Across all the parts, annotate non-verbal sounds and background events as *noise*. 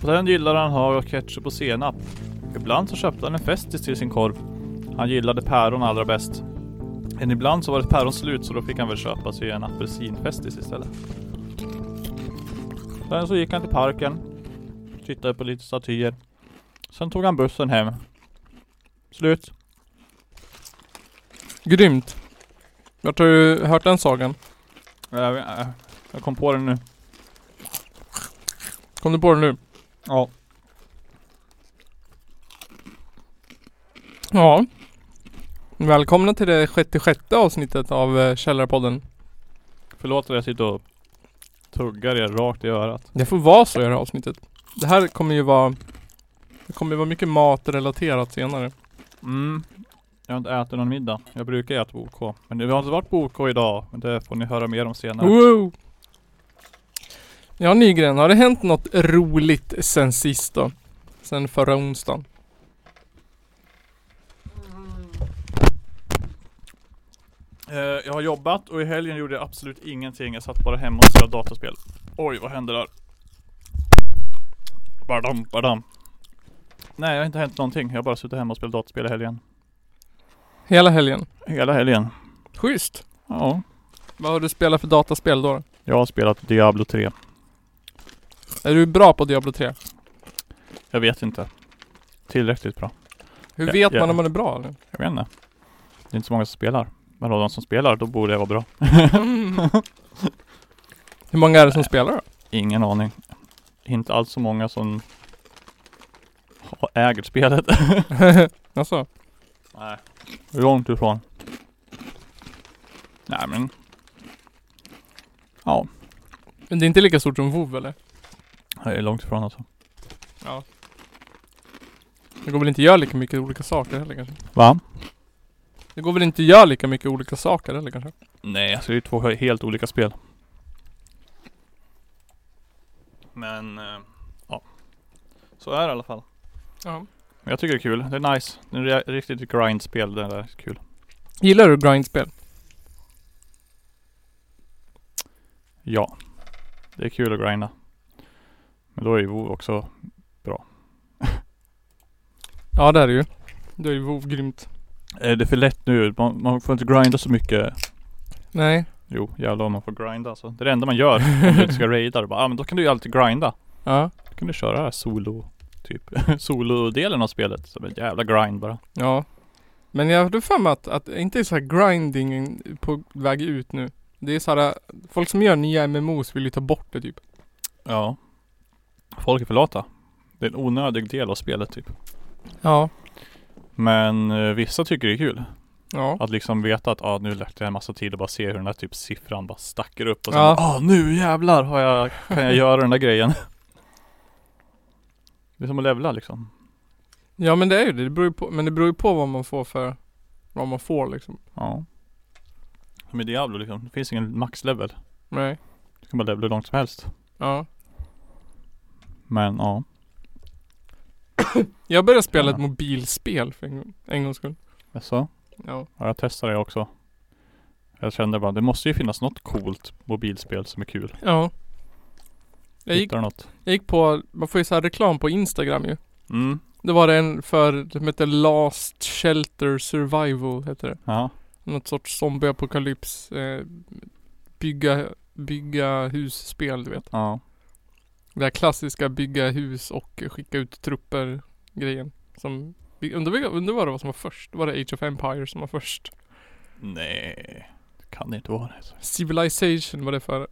På den gillade han havre, ketchup och senap. Ibland så köpte han en Festis till sin korv. Han gillade päron allra bäst. Men ibland så var ett päron slut så då fick han väl köpa sig en apelsinfestis istället. Sen så gick han till parken. Tittade på lite statyer. Sen tog han bussen hem. Slut. Grymt. Vart har du hört den sagan? Jag, jag, Äh, jag kom på den nu. Kom du på den nu? Ja. Ja. Välkomna till det 66 avsnittet av eh, Källarpodden. Förlåt att jag sitter och tuggar er rakt i örat. Det får vara så i det här avsnittet. Det här kommer ju vara... Det kommer ju vara mycket matrelaterat senare. Mm. Jag har inte ätit någon middag. Jag brukar äta på OK. Men vi har inte varit på OK idag. Men det får ni höra mer om senare. Wow! Ja Nygren, har det hänt något roligt sen sist då? Sen förra onsdagen? Eh, jag har jobbat och i helgen gjorde jag absolut ingenting. Jag satt bara hemma och spelade dataspel. Oj, vad hände där? Badam, badam. Nej, det har inte hänt någonting. Jag har bara suttit hemma och spelat dataspel i helgen. Hela helgen? Hela helgen. Schysst! Ja. Vad har du spelat för dataspel då? Jag har spelat Diablo 3. Är du bra på Diablo 3? Jag vet inte. Tillräckligt bra. Hur Ja, vet ja. man om man är bra? Eller? Jag vet inte. Det är inte så många som spelar. Men av de som spelar, då borde jag vara bra. Hur många är det som spelar då? Ingen aning. Inte alls så många som har- äger spelet. *laughs* alltså, Nej. Långt ifrån. Nej men. Ja, men det är inte lika stort som WoW eller? det är långt ifrån alltså. Ja. Det går väl inte att göra lika mycket olika saker heller kanske? Va? Det går väl inte att göra lika mycket olika saker heller kanske? Nej, alltså det är ju två helt olika spel. Men, eh, ja. Så är det i alla fall. Ja. Men jag tycker det är kul. Det är nice. Det är re- riktigt grindspel. Det där är kul. Gillar du grindspel? Ja. Det är kul att grinda. Men då är ju WoW också Ja det är det ju. Det är ju WoW grymt. Är Eh, det för lätt nu? Man, man får inte grinda så mycket. Nej. Jo, jävlar om man får grinda alltså. Det är det enda man gör om du inte *laughs* ska raida. Då Bara, ah, men då kan du ju alltid grinda. Ja. Då kan du köra det här solo, typ *laughs* solo-delen av spelet. Som en jävla grind bara. Ja. Men jag hade för mig att, att inte så här grinding på väg ut nu. Det är så här, folk som gör nya MMOs vill ju ta bort det typ. Ja. Folk är för lata. Det är en onödig del av spelet typ. Ja. Men eh, vissa tycker det är kul. Ja. Att liksom veta att ah, nu lagt jag en massa tid och bara se hur den där typ siffran bara stackar upp och sen Ja. ah, nu jävlar har jag, kan jag göra den där grejen. *laughs* Det är som att levla liksom. Ja men det är ju det. det beror ju på, men det beror ju på vad man får för, vad man får liksom. Ja. Som i Diablo liksom. Det finns ingen maxlevel. Nej. Du kan bara levla hur långt som helst. Ja. Men ja. Jag började spela Ja. ett mobilspel för en, gång- en gångs skull. Så. Ja. Ja, jag testade det också. Jag kände bara det måste ju finnas något coolt mobilspel som är kul. Ja. Jag gick, Hittar du något? jag gick på, man får ju så här reklam på Instagram ju. Mm. Det var en för, som hette Last Shelter Survival heter det. Ja. Något sorts zombieapokalyps, eh, bygga, bygga husspel du vet. Ja. Det här klassiska bygga hus och skicka ut trupper grejen. Som, undrar, vilka- undrar vad det var som var först? Var det Age of Empires som var först? Nej. Det kan inte vara det. Civilization var det för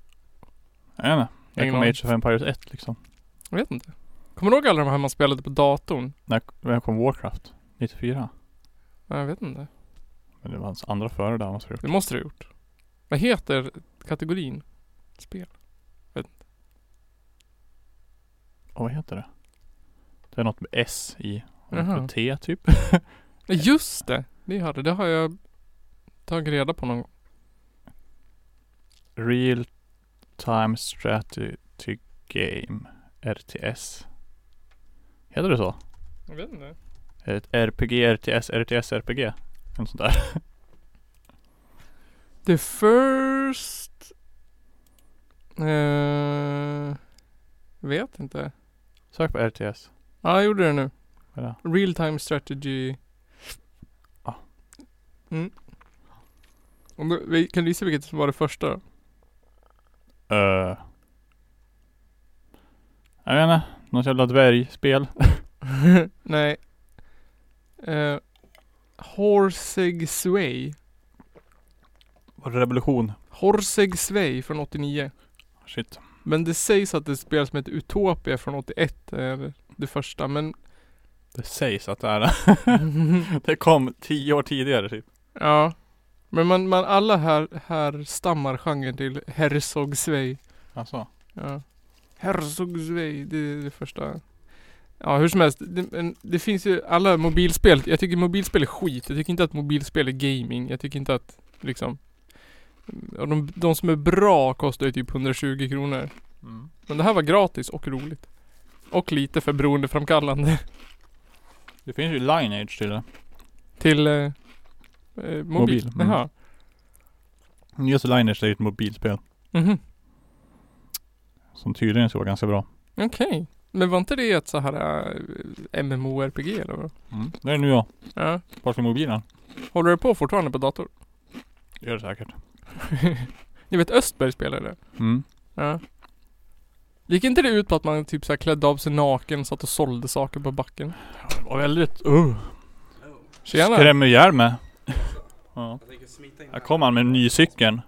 Jag vet inte. Jag Ingen kommer aning. Age of Empires 1 liksom. Jag vet inte. Kommer du ihåg alla de här man spelade på datorn? När, när kom Warcraft? 94? Nej, jag vet inte. Men det var hans andra före där måste det Det måste du ha gjort. Vad heter kategorin? Spel? Och vad heter det? Det är något med S i. Och Jaha. något T typ. Nej, just det! Det har, det. det har jag tagit reda på någon gång. Real Time Strategy Game. RTS. Heter det så? Jag vet inte. Är det ett RPG, RTS, RTS, RPG? Något sånt där. The first... Eh, vet inte. Sök på RTS. Ja, jag gjorde det nu. Vad är Real time strategy. Ja. Mm. Om du, kan du gissa vilket som var det första då? det? Eh. Jag vet inte. Något jävla dvärgspel. *laughs* Nej. Uh, Horseg Sway. Var det revolution? Horseg Sway från 89. Shit. Men det sägs att det spel som heter Utopia från 81 är det första. Men Det sägs att det är det. Mm. *laughs* Det kom tio år tidigare typ. ja. Men man, man alla här, här stammar genren till Herzog Sway. Alltså. Ja. Herzogsvej, det är det första. Ja, hur som helst. Det, men det finns ju alla mobilspel. Jag tycker mobilspel är skit. Jag tycker inte att mobilspel är gaming. Jag tycker inte att liksom... Och de, de som är bra kostar ju typ 120 kronor. Mm. Men det här var gratis och roligt. Och lite för beroendeframkallande. Det finns ju Lineage till det. *laughs* Till... Eh, eh, mobil. Mobil, mm. Jaha. Just Lineage är ju ett mobilspel. Mhm. Som tydligen såg ganska bra. Okej. Men var inte det ett så här eh, MMORPG eller vad? Mm. Det är nu jag. Ja. Bara till mobilen. Håller du på fortfarande på dator? Gör det säkert. Ni vet Östberg spelade det? Mm. Ja. Gick inte det ut på att man typ så här klädde av sig naken, satt och sålde saker på backen? Det var väldigt... Uh. Tjena! Skrämmer ihjäl *laughs* mig. Ja. Jag tänker smita in Här kommer han med en ny cykel.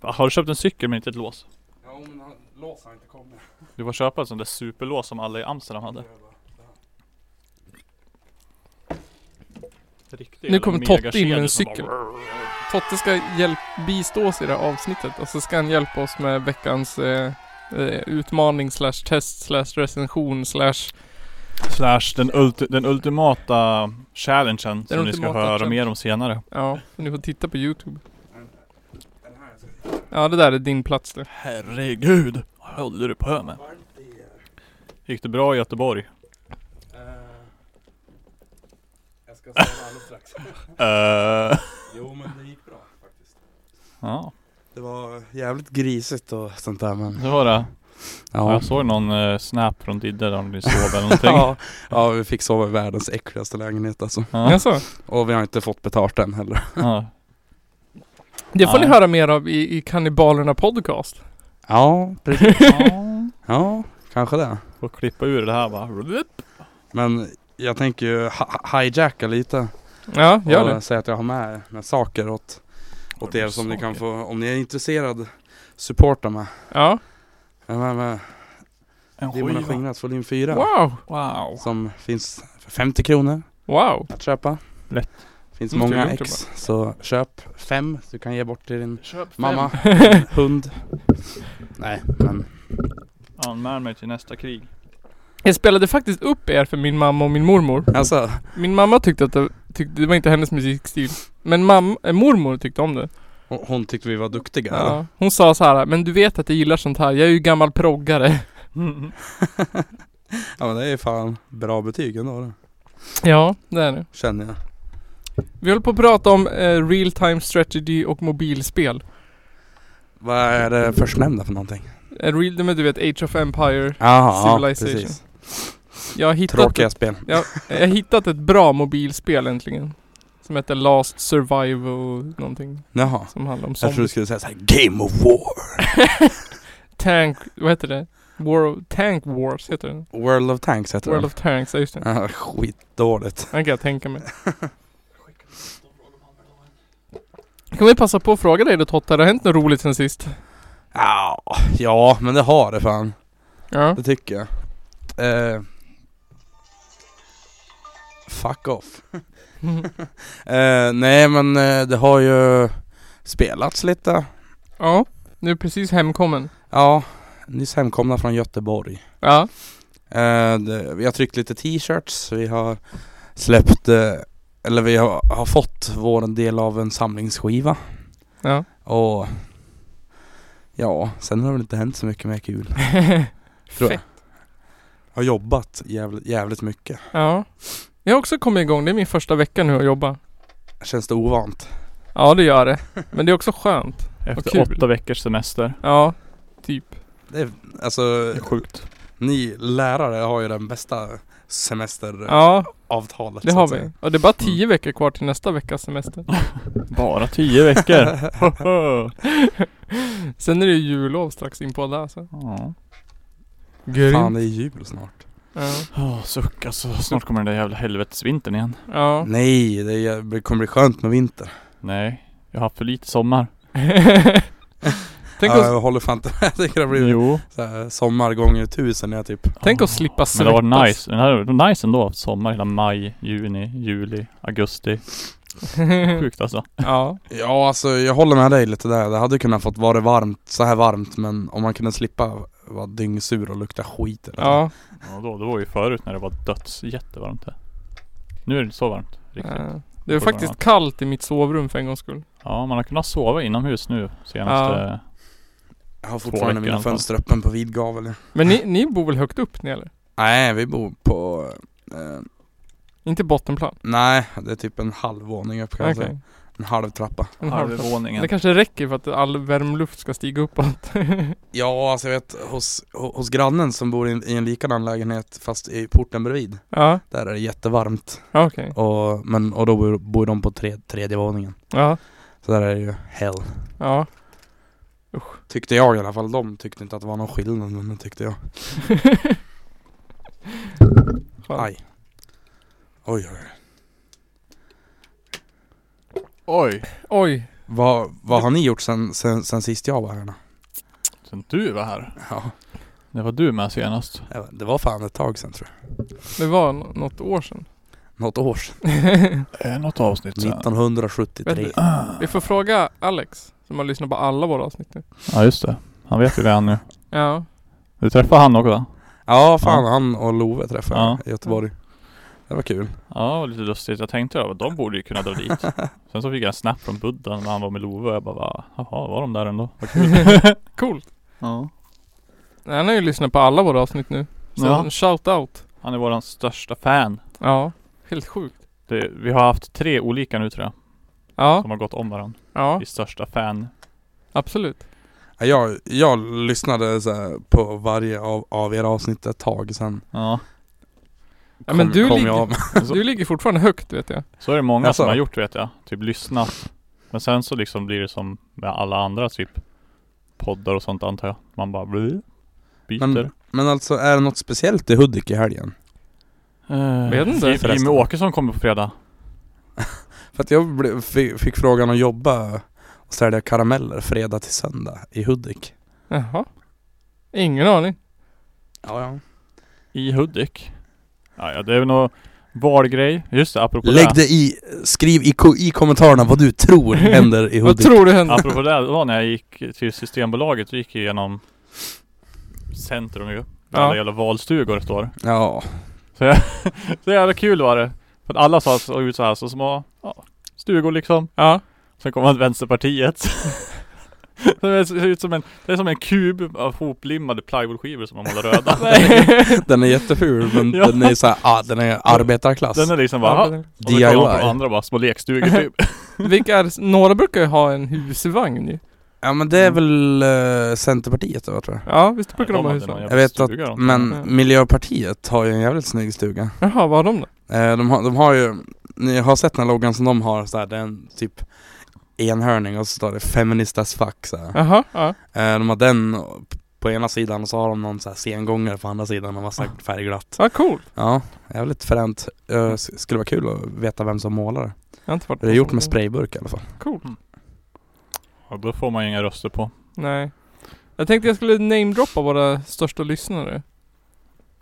Va, Har du köpt en cykel men inte ett lås? Ja men han, lås har inte kommit. *laughs* Du får köpa ett sånt där superlås som alla i Amsterdam hade. Riktigt, Nu kommer Totte in med en cykel. Totte ska hjälp, bistå oss i det här avsnittet och så ska han hjälpa oss med veckans eh, eh, utmaning slash test slash recension slash Slash den, ulti- den ultimata challengen som ni ska ultimata höra challenge. mer om senare. ja, ni får titta på youtube. Den här ska Ja det där är din plats det. Herregud! Vad håller du på med? varmt i er. Gick det bra i Göteborg? Eh, jag ska säga alldeles strax. Eh, *laughs* Jo men det gick bra faktiskt. Ja, Det var jävligt grisigt och sånt där men. det var det. *laughs* Ja. Jag såg någon eh, snap från Didde där han sov eller någonting. *laughs* Ja, ja, vi fick sova i världens äckligaste lägenhet alltså. Ja. Jaså? Och vi har inte fått betalt än heller. Ja. Det får ni Nej. höra mer av i, i Kannibalerna podcast. Ja, precis. Ja. Ja, kanske det. Får klippa ur det här bara. Men jag tänker ju hi- hijacka lite. *laughs* Ja, gör och det. säga att jag har med, med saker åt, Har åt du er som ni kan saker? få, om ni är intresserade, supporta mig. eh, Ja. Jag har med En Dimmorna skiva. skingras volym 4 Wow. Wow. som finns för 50 kronor Wow. att köpa. Lätt. Finns Mm, många trevligt, ex, så köp fem så du kan ge bort till din Köp fem. *laughs* mamma, hund. Nej, men Anmäl mig till nästa krig. Jag spelade faktiskt upp er för min mamma och min mormor. alltså, Min mamma tyckte att det, tyckte, det var inte hennes musikstil. Men mamma, äh, mormor tyckte om det. hon, hon tyckte vi var duktiga. eller? Ja. Hon sa så här, men du vet att jag gillar sånt här. Jag är ju gammal proggare. Ja men det är ju fan bra betyg ändå det, Ja, det är det. känner jag. Vi håller på att prata om eh, real time strategy och mobilspel. Vad är det förstnämnda för någonting? Eh, real, men du vet, Age of Empire. Jaha, ja, Civilization. precis. Jag har hittat, Tråkiga ett, spel. jag har hittat ett bra mobilspel äntligen. Som heter Last Survival någonting. Jaha. Som handlar om Jag trodde du zombies. skulle säga såhär Game of War. Tank, vad heter det? War of, Tank Wars heter den. World of Tanks heter World det. of Tanks, ja just det. Ja, skitdåligt. Den kan jag tänka mig. Kan vi passa på att fråga dig då Totte, har det hänt något roligt sen sist? Ja, ja, men det har det fan. *laughs* Ja. Det tycker jag. Eh, fuck off. Eh, nej men eh, det har ju spelats lite. ja, nu är precis hemkommen. Ja, nyss hemkomna från Göteborg. Ja. Eh, det, vi har tryckt lite t-shirts, vi har släppt, eh, eller vi har, har fått vår del av en samlingsskiva. Ja. *laughs* Och ja, sen har det väl inte hänt så mycket mer kul. Tror Fett. jag. Har jobbat jävligt, jävligt mycket. Ja. Jag har också kommit igång, det är min första vecka nu att jobba. Känns det ovant? Ja det gör det. Men det är också skönt. Efter kul. åtta veckors semester. Ja, typ. Det är, alltså, sjukt. Ni lärare har ju den bästa semesteravtalet. Ja, avtalet det har vi. Och det är bara tio veckor kvar till nästa veckas semester. *laughs* Bara tio veckor. *laughs* Sen är det ju jullov strax in på det alltså. Ja. Fan Grymt. det är jul snart. Ja. Åh, suck alltså. Snart kommer den där jävla helvetesvintern igen. ja. Nej, det är- kommer bli skönt med vinter. Nej, jag har haft för lite sommar. *laughs* tänk, ja, att, jag håller fan inte med. Jag tycker det blir Jo. så här, sommar gånger tusen när jag typ tänk att slippa Men det svettas. var nice. Det hade varit nice ändå. haft Sommar hela maj, juni, juli, augusti. Mm. Sjukt alltså. *laughs* ja. Ja alltså jag håller med dig lite där. Det hade kunnat fått vara varmt, så här varmt men om man kunde slippa vara dyngsur och lukta skit eller Ja. Ja, då, det var ju förut när det var döds jättevarmt här. Nu är det inte så varmt. Riktigt. Eh, Det är faktiskt kallt i mitt sovrum för en gångs skull. Ja, man har kunnat sova inomhus nu senaste... Jag har Två fortfarande veckor i mina alla fall. fönster öppen på vid gavel. Men ni, ni bor väl högt upp ni eller? Nej vi bor på eh, Inte bottenplan? Nej, det är typ en halv våning upp kan Okej. jag säga. En halv trappa. En halv trappa. halvvåningen. Det kanske räcker för att all värmluft ska stiga uppåt. *laughs* Ja, alltså jag vet hos, ho- hos grannen som bor i en, i en likadan lägenhet fast i porten bredvid. ja, Där är det jättevarmt. ja, okej. Och, men, och då bor, bor de på tre, tredje våningen. Ja, Så där är det ju hell. ja. Tyckte jag i alla fall. De tyckte inte att det var någon skillnad men det tyckte jag. Fan. Aj. Oj, oj. Oj! Oj. Vad, vad har ni gjort sen, sen, sen sist jag var här då? Sen du var här. Ja, När var du med senast? det var- det var fan ett tag sen tror jag. Det var nå- något år sedan. *laughs* Något år sedan. Eh, något avsnitt sen. 1973. Vi får fråga Alex, som har lyssnat på alla våra avsnitt nu. Ja, just det. Han vet ju det han nu. Ja. Du träffade han också va? Ja, fan han och Love träffade jag i Göteborg. Det var kul. Ja, det var lite lustigt. Jag tänkte att de borde ju kunna dra dit. *laughs* Sen så fick jag en snap från Buddha när han var med Love och jag bara va? Jaha, var de där ändå? Vad kul. Coolt. ja. Han har ju lyssnat på alla våra avsnitt nu. Så Ja. en shout-out. Han är våran största fan. Ja. Helt sjukt. Det, vi har haft tre olika nu tror jag. Ja, Som har gått om varandra. ja. I största fan. Absolut. Ja, Jag, jag lyssnade så här på varje av, av era avsnitt ett tag sen. Ja. Ja, men kom, du kom ligger- jag av. *laughs* Du ligger fortfarande högt vet jag. Så är det många Alltså. som har gjort vet jag. Typ lyssnat. Men sen så liksom blir det som med alla andra typ poddar och sånt antar jag. Man bara blir byter. Men, men alltså är det något speciellt i Hudik i helgen? Eh, Vet inte Jim- Jimmy förresten. Åkesson kommer på fredag. För att jag blev, fi- fick frågan att jobba och sälja karameller fredag till söndag i Hudik. Jaha. Ingen aning. Ja, ja. I Hudik. Ja, ja det är väl någon valgrej. Just det, apropå Lägg det. det i, skriv i, ko- i kommentarerna vad du tror händer i Vad Hudik. tror du händer? Apropå det, det var när jag gick till Systembolaget och gick igenom centrum ju. Där Ja. alla jävla valstugor står. Ja, Så jävla kul var det. För att alla sa- såg ut så här så små ja, stugor liksom. Ja. Sen kom man till Vänsterpartiet. Så *laughs* det ser ut som en, det är som en kub av hoplimmade plywoodskivor som de målar *laughs* röda. *laughs* den är jätteful men Ja. den är så här, ah, den är arbetarklass. Den är liksom bara, "Ha." *laughs* och så kollar man på de DIY. andra bara, små lekstugor typ. Vilka är, några brukar ju ha en husvagn ju. Ja men Mm. det är väl eh, Centerpartiet *laughs* då tror jag. Ja, visst brukar de hade ha någon husvagn? jävla Jag vet att- stuga de. Ja. Men Miljöpartiet har ju en jävligt snygg stuga. Jaha, vad har de då? Eh, de, har, de har ju, ni har sett den här loggan som de har så här, det är en typ enhörning och så står det feminist as fuck så här. Jaha, ja. Eh, De har den på ena sidan och så har de någon så här sengångare på andra sidan och massa färgglatt. Vad coolt. Ja, jävligt fränt. Eh, s- Skulle vara kul att veta vem som målar det. Jag har inte varit Det är på gjort sån. med sprayburk i alla fall. Coolt. Och då får man ju inga röster på. Nej. Jag tänkte jag skulle namedroppa våra största lyssnare.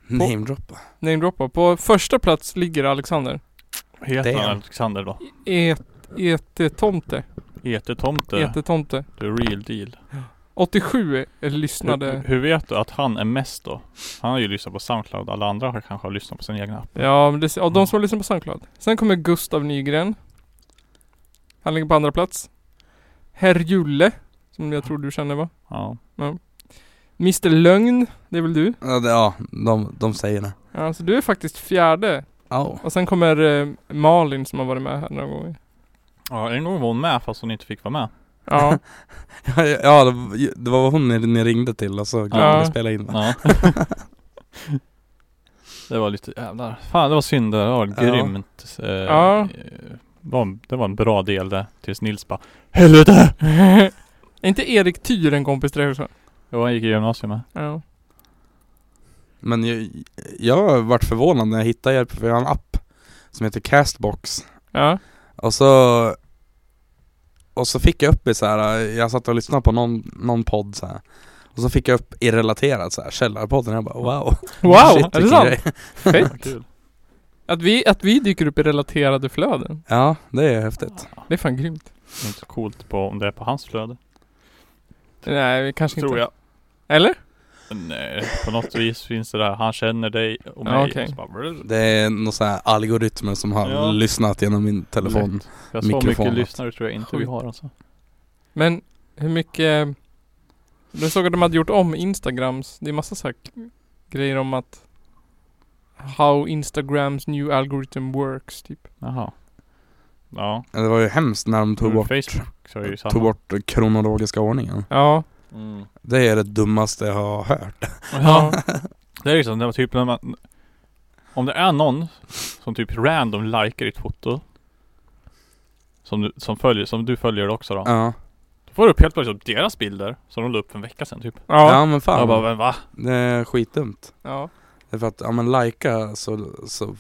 Namedroppa. Namedroppa. På första plats ligger Alexander. E- Heter han Damn. Alexander då? Et, etetomte. Etetomte. E Etetomte. The real deal. 87 är lyssnade. Hur, hur vet du att han är mest då? Han har ju lyssnat på Soundcloud, alla andra har kanske har lyssnat på sin egna app. Ja, men det, ja, de som har lyssnat på Soundcloud. Sen kommer Gustav Nygren. Han ligger på andra plats. Herr Julle, som jag tror du känner va? Ja. Mr Lögn, det är väl du? Ja, det- ja de, de säger det. Ja, så du är faktiskt fjärde. Ja. Och sen kommer eh, Malin som har varit med här några gånger. ja, en gång var hon med fast hon inte fick vara med. Ja, *laughs* Ja, det var- det var hon ni, ni ringde till och så glömde Ja. *laughs* spela in va? Ja. Det var lite jävlar. Fan det var synd det. Det var Ja. grymt. Eh, Ja. eh, det var en- det var en bra del där. Tills Nils bara Helvete! Är inte Erik Tyr en kompis till dig också? Jo han gick i gymnasiet med. Ja. Men jag, jag vart förvånad när jag hittade hjälp för jag har en app som heter Castbox. Ja. Och så Och så fick jag upp i så här. jag satt och lyssnade på någon, någon podd så här. Och så fick jag upp irrelaterat så här, källarpodden, jag bara *laughs* wow Wow! Shit, är det vilken sant? grej. *laughs* Ja, Fett. kul. Att vi, att vi dyker upp i relaterade flöden. Ja, det är häftigt Det är fan grymt. Det är inte så coolt på, om det är på hans flöde. Nej, vi kanske Tror inte. jag. Eller? Nej, på något vis finns det där. Han känner dig och Ja, mig. okej. Och så bara, Det är någon sån här algoritmer som har Ja. lyssnat genom min telefon Lätt. jag så mycket Mikrofonet. lyssnare tror jag inte vi Sjukt. har alltså. Men hur mycket... Du såg att de hade gjort om Instagrams. Det är massa så här k- grejer om att... How Instagrams new algorithm works, typ. Jaha. Ja. Det var ju hemskt när de tog men bort, Facebook så är Mm. det ju samma. tog bort kronologiska ordningen Ja. Mm. Det är det dummaste jag har hört Ja. Det är liksom, det var typ när man Om det är någon som typ random likar ditt foto Som du, som följer, som du följer också då Ja, Då får du upp helt plötsligt upp deras bilder Som de la upp för en vecka sedan typ ja, Ja. men fan Jag bara, men va? Det är skitdumt Ja. Det är för att, ja men lajka så, så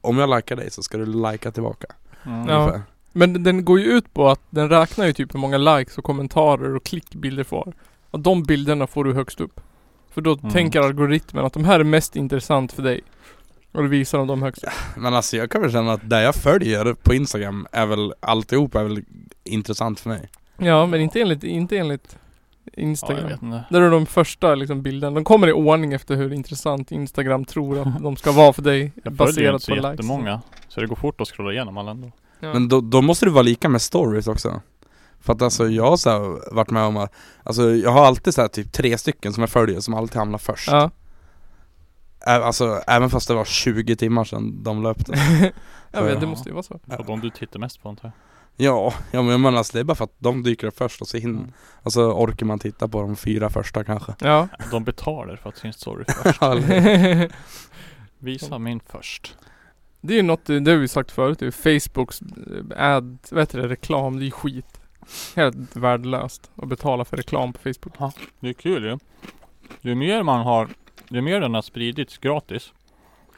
Om jag likar dig så ska du lajka tillbaka Mm. Ja. ungefär. Men den går ju ut på att den räknar ju typ hur många likes och kommentarer och klick bilder får. Och de bilderna får du högst upp. För då Mm. tänker algoritmen att de här är mest intressant för dig. Och då visar de dem högst upp. Men alltså jag kan väl känna att det jag följer på Instagram är väl alltihop är väl intressant för mig Ja, men inte enligt, inte enligt Ja, jag Instagram. vet inte. Där är de första liksom, bilderna. De kommer i ordning efter hur intressant Instagram tror att de ska vara för dig. Jag följer ju baserat inte så på likes. jättemånga Så det går fort att scrolla igenom alla ändå Ja. Men då, då måste du vara lika med stories också För att alltså jag har så här, varit med om att Alltså jag har alltid så här, typ tre stycken som jag följer som alltid hamnar först Ja. Ä- Alltså även fast det var 20 timmar sedan de löpte *laughs* jag vet, det måste ju vara så. Det är de du tittar mest på antar jag Ja, ja men jag menar alltså det är bara för att de dyker upp först och så hinner Mm. Alltså orkar man titta på de fyra första kanske Ja. De betalar för att sin *laughs* story först Visa min först det är ju något, det har vi sagt förut ju. Facebooks eh, ad, vad heter det, reklam, det är ju skit. Helt värdelöst att betala för reklam på Facebook. Det är kul ju Ju mer man har Ju mer den har spridits gratis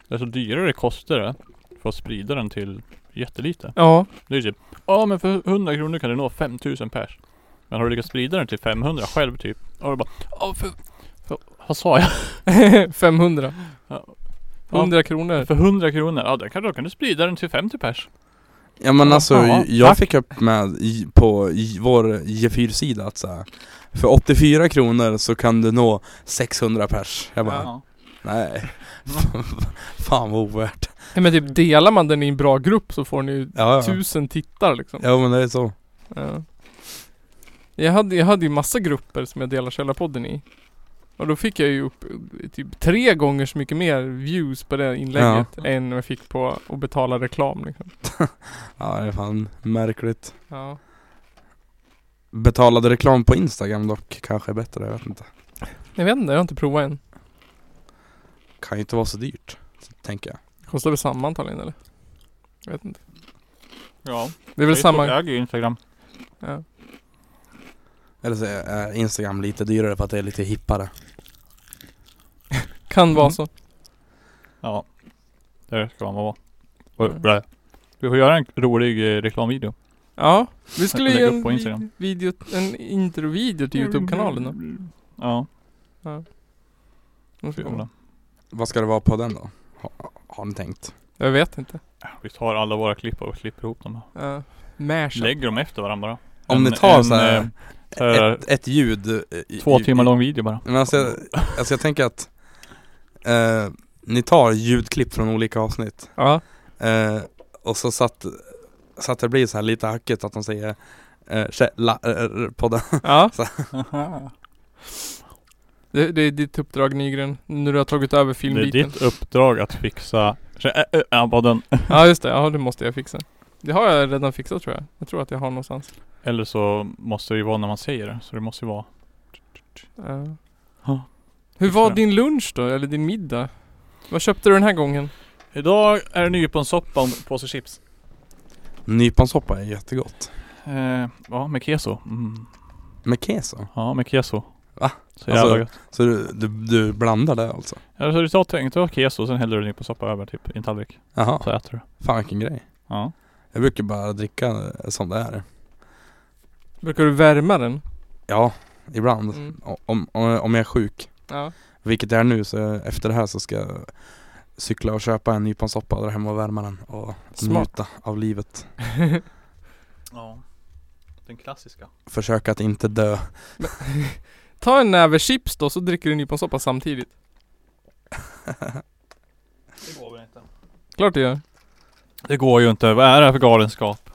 Desto dyrare kostar det För att sprida den till jättelite Ja, Det är typ Ja men för 100 kronor kan du nå 5000 pers Men har du lyckats sprida den till 500 själv typ Ja du bara Ja för, för Vad sa *laughs* jag? 500. Ja. 100 kronor. För 100 kronor? Ja det kan, då kan du sprida den till 50 pers Ja men alltså Jaha, jag tack. fick upp med i- på i- vår G4-sida att så här, För 84 kronor så kan du nå 600 pers Jag bara, Ja, nej *laughs* Fan vad ovärt Nej, men typ delar man den i en bra grupp så får ni ju Ja ja, tusen tittare liksom. ja men det är så Ja. Jag hade, jag hade ju massa grupper som jag delar Källarpodden i. Och då fick jag ju upp eh, typ tre gånger så mycket mer views på det inlägget än vad jag fick på att betala reklam liksom. Ja det är fan märkligt Ja. Betalade reklam på Instagram dock kanske är bättre, jag vet inte Jag vet inte, jag har inte provat än. Kan ju inte vara så dyrt, tänker jag Kostar det samma antagligen eller? Jag vet inte. ja. Det är väl samma... äger ju Instagram Ja. Eller så är Instagram lite dyrare för att det är lite hippare Kan vara så. Ja Det ska man vara Ja. Oj, blä. Vi får göra en rolig eh, reklamvideo Ja. Vi skulle Lägg ju upp en, på Instagram. vid- video, en introvideo till Youtube-kanalen då. Ja, Den ska vi komma. får det. Vad ska det vara på den då? Ha- Har ni tänkt? Jag vet inte. Vi tar alla våra klipp och klipper ihop dem Uh, Mashup. Lägger dem efter varandra bara. Om En- ni tar en, så här- eh, så här- Ett, ett ljud eh, i- Två i- timmar lång video bara. Men alltså, jag- alltså jag tänker att eh, Ni tar ljudklipp från olika avsnitt Ja. eh, Och så satt Så att det blir så här lite hackigt att de säger eh, kä- la, eh, podden Ja. Aha. Det, det är ditt uppdrag Nygren, nu du har tagit över Det är filmbiten. ditt uppdrag att fixa... eh, Ä- ä- ä- vad den- *laughs* Ja just det, ja det måste jag fixa. Det har jag redan fixat tror jag. Jag tror att jag har någonstans. Eller så måste det ju vara när man säger det. Så det måste ju vara... Eh, Ja. Hur Det var tror jag. din lunch då? Eller din middag? Vad köpte du den här gången? Idag är det nyponsoppa och en påse chips. Nyponsoppa är jättegott. Eh, ja, med keso. Mm. Med keso? Ja, med keso. Va? Så jävla Alltså- gött. Så du, du, du blandar det alltså? Ja, så du tar tänkte ha keso, sen häller du nyponsoppa över typ i en tallrik. Jaha, Så äter du. fan vilken grej. Ja. Jag brukar bara dricka eh, som det är. Brukar du värma den? Ja, ibland. Mm. O- Om, om, om jag är sjuk, Ja. vilket jag är nu, så efter det här så ska jag cykla och köpa en nyponsoppa och dra hem och värma den och Smart. njuta av livet. Ja. Den klassiska. Försöka att inte dö. Ta en näve chips då så dricker du nyponsoppa samtidigt. Det går väl inte. Klart det gör. Det går ju inte. Vad är det här för galenskap?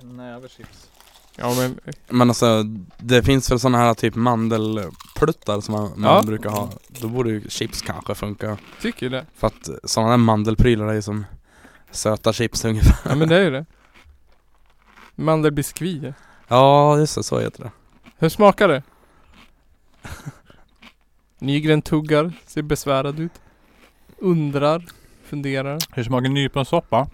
En näve chips. Ja men Men alltså, det finns väl sådana här typ mandelpluttar som man, man Ja. brukar ha. Då borde ju chips kanske funka. tycker ju det. För att sådana där mandelprylar är ju som söta chips ungefär. *laughs* Ja men det är ju det. Mandelbiskvier. Ja, just det, så heter det. Hur smakar det? Nygren tuggar, ser besvärad ut. Undrar, funderar. Hur smakar nyponsoppa?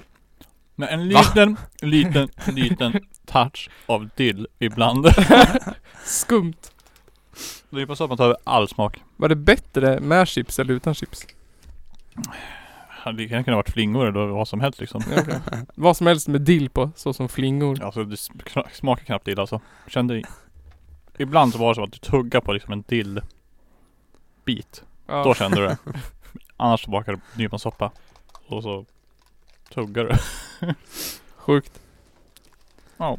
Med en Va? liten, liten, liten touch av dill ibland. Skumt. Nyponsoppan tar över all smak. Var det bättre med chips eller *laughs* utan chips? Det kan kunna varit flingor eller vad som helst liksom. Ja, okej. Vad som helst med dill på, såsom flingor. Alltså det sm- smakar knappt dill alltså. Kände i- Ibland så var det som att du tuggade på liksom en dillbit. Ja. Då kände du det. Annars så bakar du nyponsoppa. Och så tuggar du. Sjukt. Ja.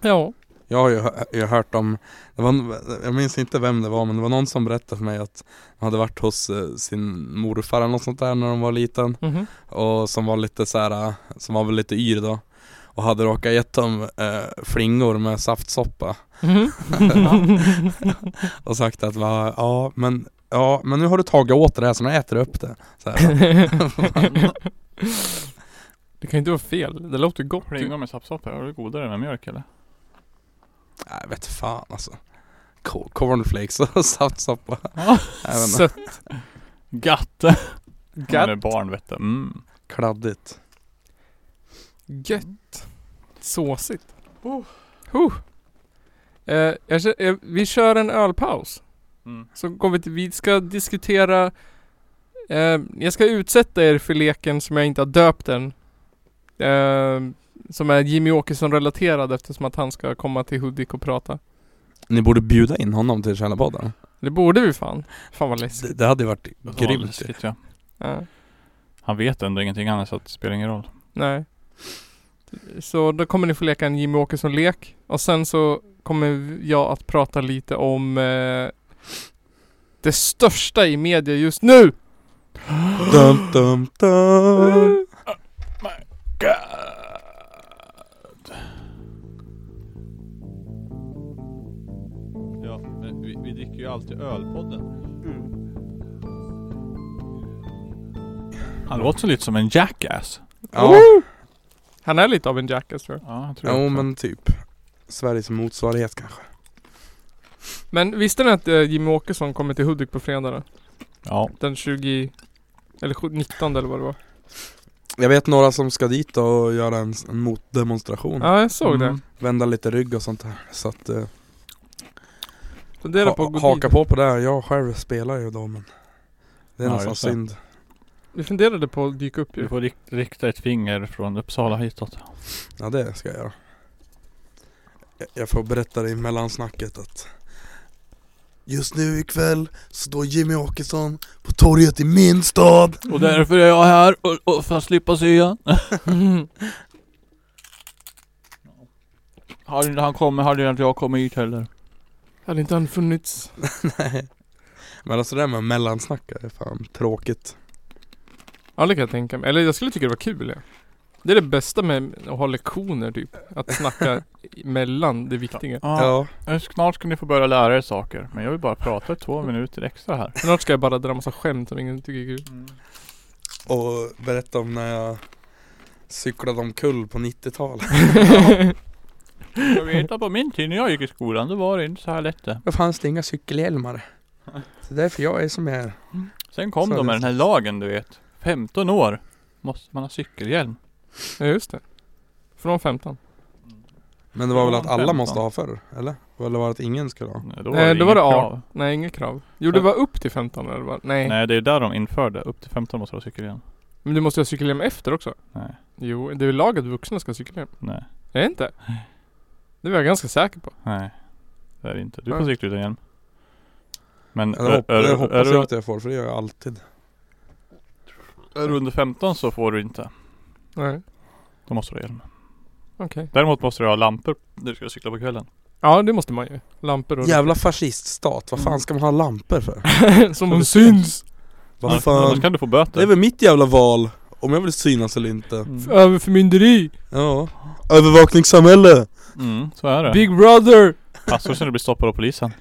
Ja. Jag har ju hö- jag har hört om, det var, en- jag minns inte vem det var men det var någon som berättade för mig att han hade varit hos eh, sin morfar eller något sånt där när de var liten Mhm. och som var lite så här, eh, som var väl lite yr då och hade råkat gett dem eh, flingor med saftsoppa Mhm. *laughs* och sagt att va, ja men Ja men nu har du tagit åt det här så nu äter du upp det *laughs* så här, det kan ju inte vara fel. Det låter gott. Flingor med sappsoppa, är det godare med mjölk eller? Nej vet fan alltså Co- Cornflakes och *laughs* saftsoppa Jag vet inte, Sött. *laughs* Gatt! Man är Gatt. barn vet du. Mm. Kladdigt Gött. Såsigt. Oh. Huh. Eh, jag, kä- eh, vi kör en ölpaus. Mm. Så går vi till, vi ska diskutera eh, Jag ska utsätta er för leken som jag inte har döpt än eh, Som är Jimmy Åkesson relaterad eftersom att han ska komma till Hudik och prata Ni borde bjuda in honom till Källarpodden Det borde vi fan Fan vad läskigt Det, det hade ju varit Vad *gasps* grymt ju. läskigt, ja. ja, Han vet ändå ingenting annat så att det spelar ingen roll. Nej Så då kommer ni få leka en Jimmy Åkesson-lek Och sen så kommer jag att prata lite om eh, Det största i media just nu! dum, dum, *laughs* dum. Ja, men vi, vi dricker ju alltid ölpodden. Han låter lite som en jackass. Ja, Han är lite av en jackass tror jag Ja, jag tror jo också. men typ Sveriges motsvarighet kanske Men visste ni att eh, Jimmy Åkesson kommer till Hudik på fredag då? Ja. Den 20... Eller sju- 19 eller vad det var. Jag vet några som ska dit och göra en, en motdemonstration Ja, jag såg Mm. det. Vända lite rygg och sånt där Så att, eh, Fundera på att ha, gå haka dit. på på det här. Jag själv spelar ju då men Det är Ja, nästan just det. synd Vi funderade på att dyka upp Du ju. får rik- rikta ett finger från Uppsala hitåt. Ja det ska jag göra Jag- Jag får berätta det i mellansnacket att Just nu ikväll så står Jimmy Åkesson på torget i min stad Och därför är jag här och, och för att slippa sya. *laughs* Hade inte han kommit hade inte jag kommit hit heller. Hade inte han funnits. Nej Men alltså det där med mellansnack är fan tråkigt Ja, det kan jag tänka mig. Eller jag skulle tycka det var kul ja. Det är det bästa med att ha lektioner typ. Att snacka i- mellan det viktiga. Ja, Men Eh, Snart ska ni få börja lära er saker. Men jag vill bara prata i två minuter extra här. Snart ska jag bara dra massa skämt som ingen tycker är kul. Mm. och berätta om när jag cyklade omkull på 90-talet Jag vet att på min tid när jag gick i skolan, då var det inte så här lätt det. Då fanns det inga cykelhjälmar. *laughs* Så därför jag är som jag är. Sen kom Så de med det- den här lagen du vet. 15 år måste man ha cykelhjälm. Ja just det. Från 15. Men det var väl Ja, att alla 15. måste ha förr? Eller? Eller var det att ingen skulle ha? Nej, Då Nej, Eh, då inget var det krav. A. Nej, inget krav. Jo, det var upp till 15 eller vad? Nej. Nej det är där de införde, upp till 15 måste du ha cykelhjälm. Men du måste ju ha cykelhjälm efter också. Nej, Jo, det är ju lag att vuxna ska ha cykelhjälm. nej, Är det inte? Det var jag ganska säker på. nej. Det är det inte. Du Nej. får cykla utan hjälm. Men Eller är, hopp, är, det du- är, hoppas jag du, att jag får, för det gör jag alltid. är du under 15 så får du inte. Nej. Då måste du ha hjälm. Okej. Däremot måste du ha lampor när du ska cykla på kvällen. Ja, det måste man ju. Lampor och... Jävla fasciststat, vad Mm. fan ska man ha lampor för? *laughs* Som de syns! Vad Annars fan? kan du få Det är böter. väl mitt jävla val, om jag vill synas eller inte. Mm. Överförmynderi! Ja. Övervakningssamhälle! Mm, så är det. Big brother! Passar sen du blir stoppad av polisen.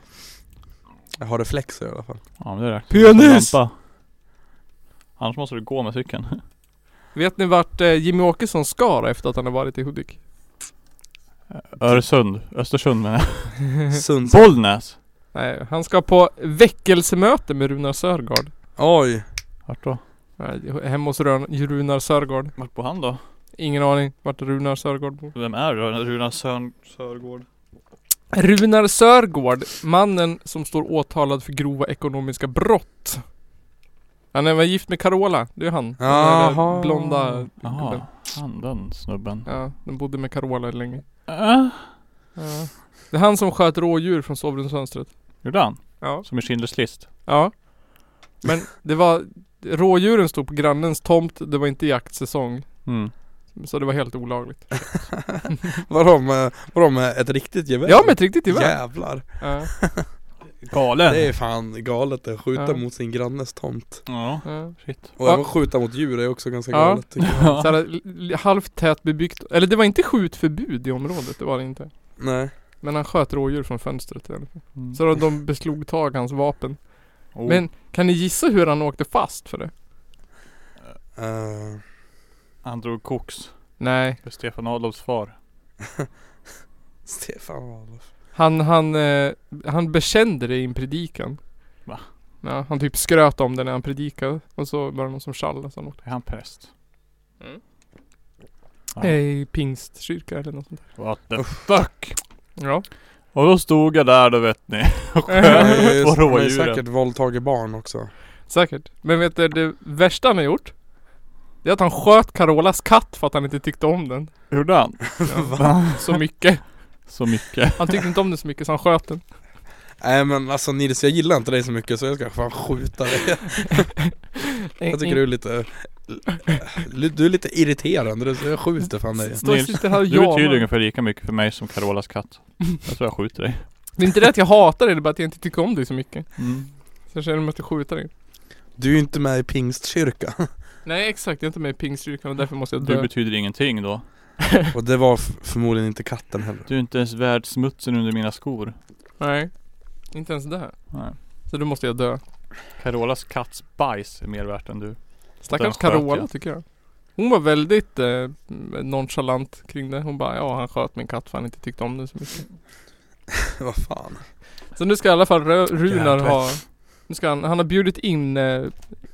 Jag har reflexer i alla fall. Ja men det räcker. Penis! Lampa. Annars måste du gå med cykeln. *laughs* Vet ni vart eh, Jimmy Åkesson ska då efter att han har varit i *laughs* Hudik? Öresund, Östersund menar jag. Mm. Sunds... Bollnäs! Nej, han ska på väckelsemöte med Runar Sörgård. Oj! Vart då? Nej, Hemma hos Rön- Runar Sörgård. Vart bor han då? Ingen aning vart Runar Sörgård bor. Vem är det då? Runar Sörn... Sörgård? Runar Sörgård, mannen som står åtalad för grova ekonomiska brott. Han är- var gift med Carola, det är han. Den där Jaha. Blonda gubben. Jaha, han den snubben. Ja, de bodde med Carola länge. Äh, Ja. Det är han som sköt rådjur från sovrumsfönstret. gjorde han? Ja. Som i Schindler's list? Ja. Men det var, rådjuren stod på grannens tomt, det var inte jaktsäsong. Mm. Så det var helt olagligt. Vadå med, vadå med ett riktigt gevär? Ja men ett riktigt gevär. Jävlar! Ja, Galen! Det är fan galet att skjuta Ja. mot sin grannes tomt. Ja, ja. shit. Och Ja. även skjuta mot djur är också ganska Ja. galet tycker *laughs* jag. Så här, l- l- halvt tätt bebyggt. Eller det var inte skjutförbud i området, det var det inte. Nej. Men han sköt rådjur från fönstret i alla fall. Mm. Så de- de beslogtog hans vapen. Oh. Men kan ni gissa hur han åkte fast för det? Eh, Han drog koks Nej. för Stefan Adolfs far. Stefan Adolf. Han, han, eh, han bekände det i en predikan. Va? Ja, han typ skröt om det när han predikade. Och så var det någon som tjallade så han åkte. Är han präst? Mm. Ja. I pingstkyrka eller något sånt What the fuck? där. Ja. Och då stod jag där då vet ni. *laughs* Och Han sköt har ju- på han har ju rådjuren. säkert våldtagit barn också. Säkert. Men vet du, det värsta han har gjort? Det är att han sköt Carolas katt för att han inte tyckte om den. Gjorde han? *laughs* Så mycket. Så mycket. Han tyckte inte om den så mycket så han sköt den. Nej men alltså Nils jag gillar inte dig så mycket så jag ska fan skjuta dig. Jag tycker du är lite... Du är lite irriterande du, så jag skjuter fan dig. Står Nils, sitter här och Du betyder jamar. ungefär lika mycket för mig som Carolas katt. Jag tror jag skjuter dig. Det är inte det att jag hatar dig, det är bara att jag inte tycker om dig så mycket. Mm. Så jag känner mig att jag skjuter dig. Du är ju inte med i pingstkyrkan. Nej exakt, jag är inte med i pingstkyrkan och därför måste jag Du dö. betyder ingenting då. Och det var f- förmodligen inte katten heller. *laughs* Du är inte ens värd smutsen under mina skor. Nej. Inte ens det. Nej. Så då måste jag dö. Carolas katts bajs är mer värt än du. Den Stackars sköt Carola jag. tycker jag. Hon var väldigt eh, nonchalant kring det. Hon bara, ja han sköt min katt för han inte tyckte om den så mycket. Vad fan. *laughs* Så nu ska i alla fall Rö- Runar Jävlar. ha Nu ska han, han har bjudit in eh,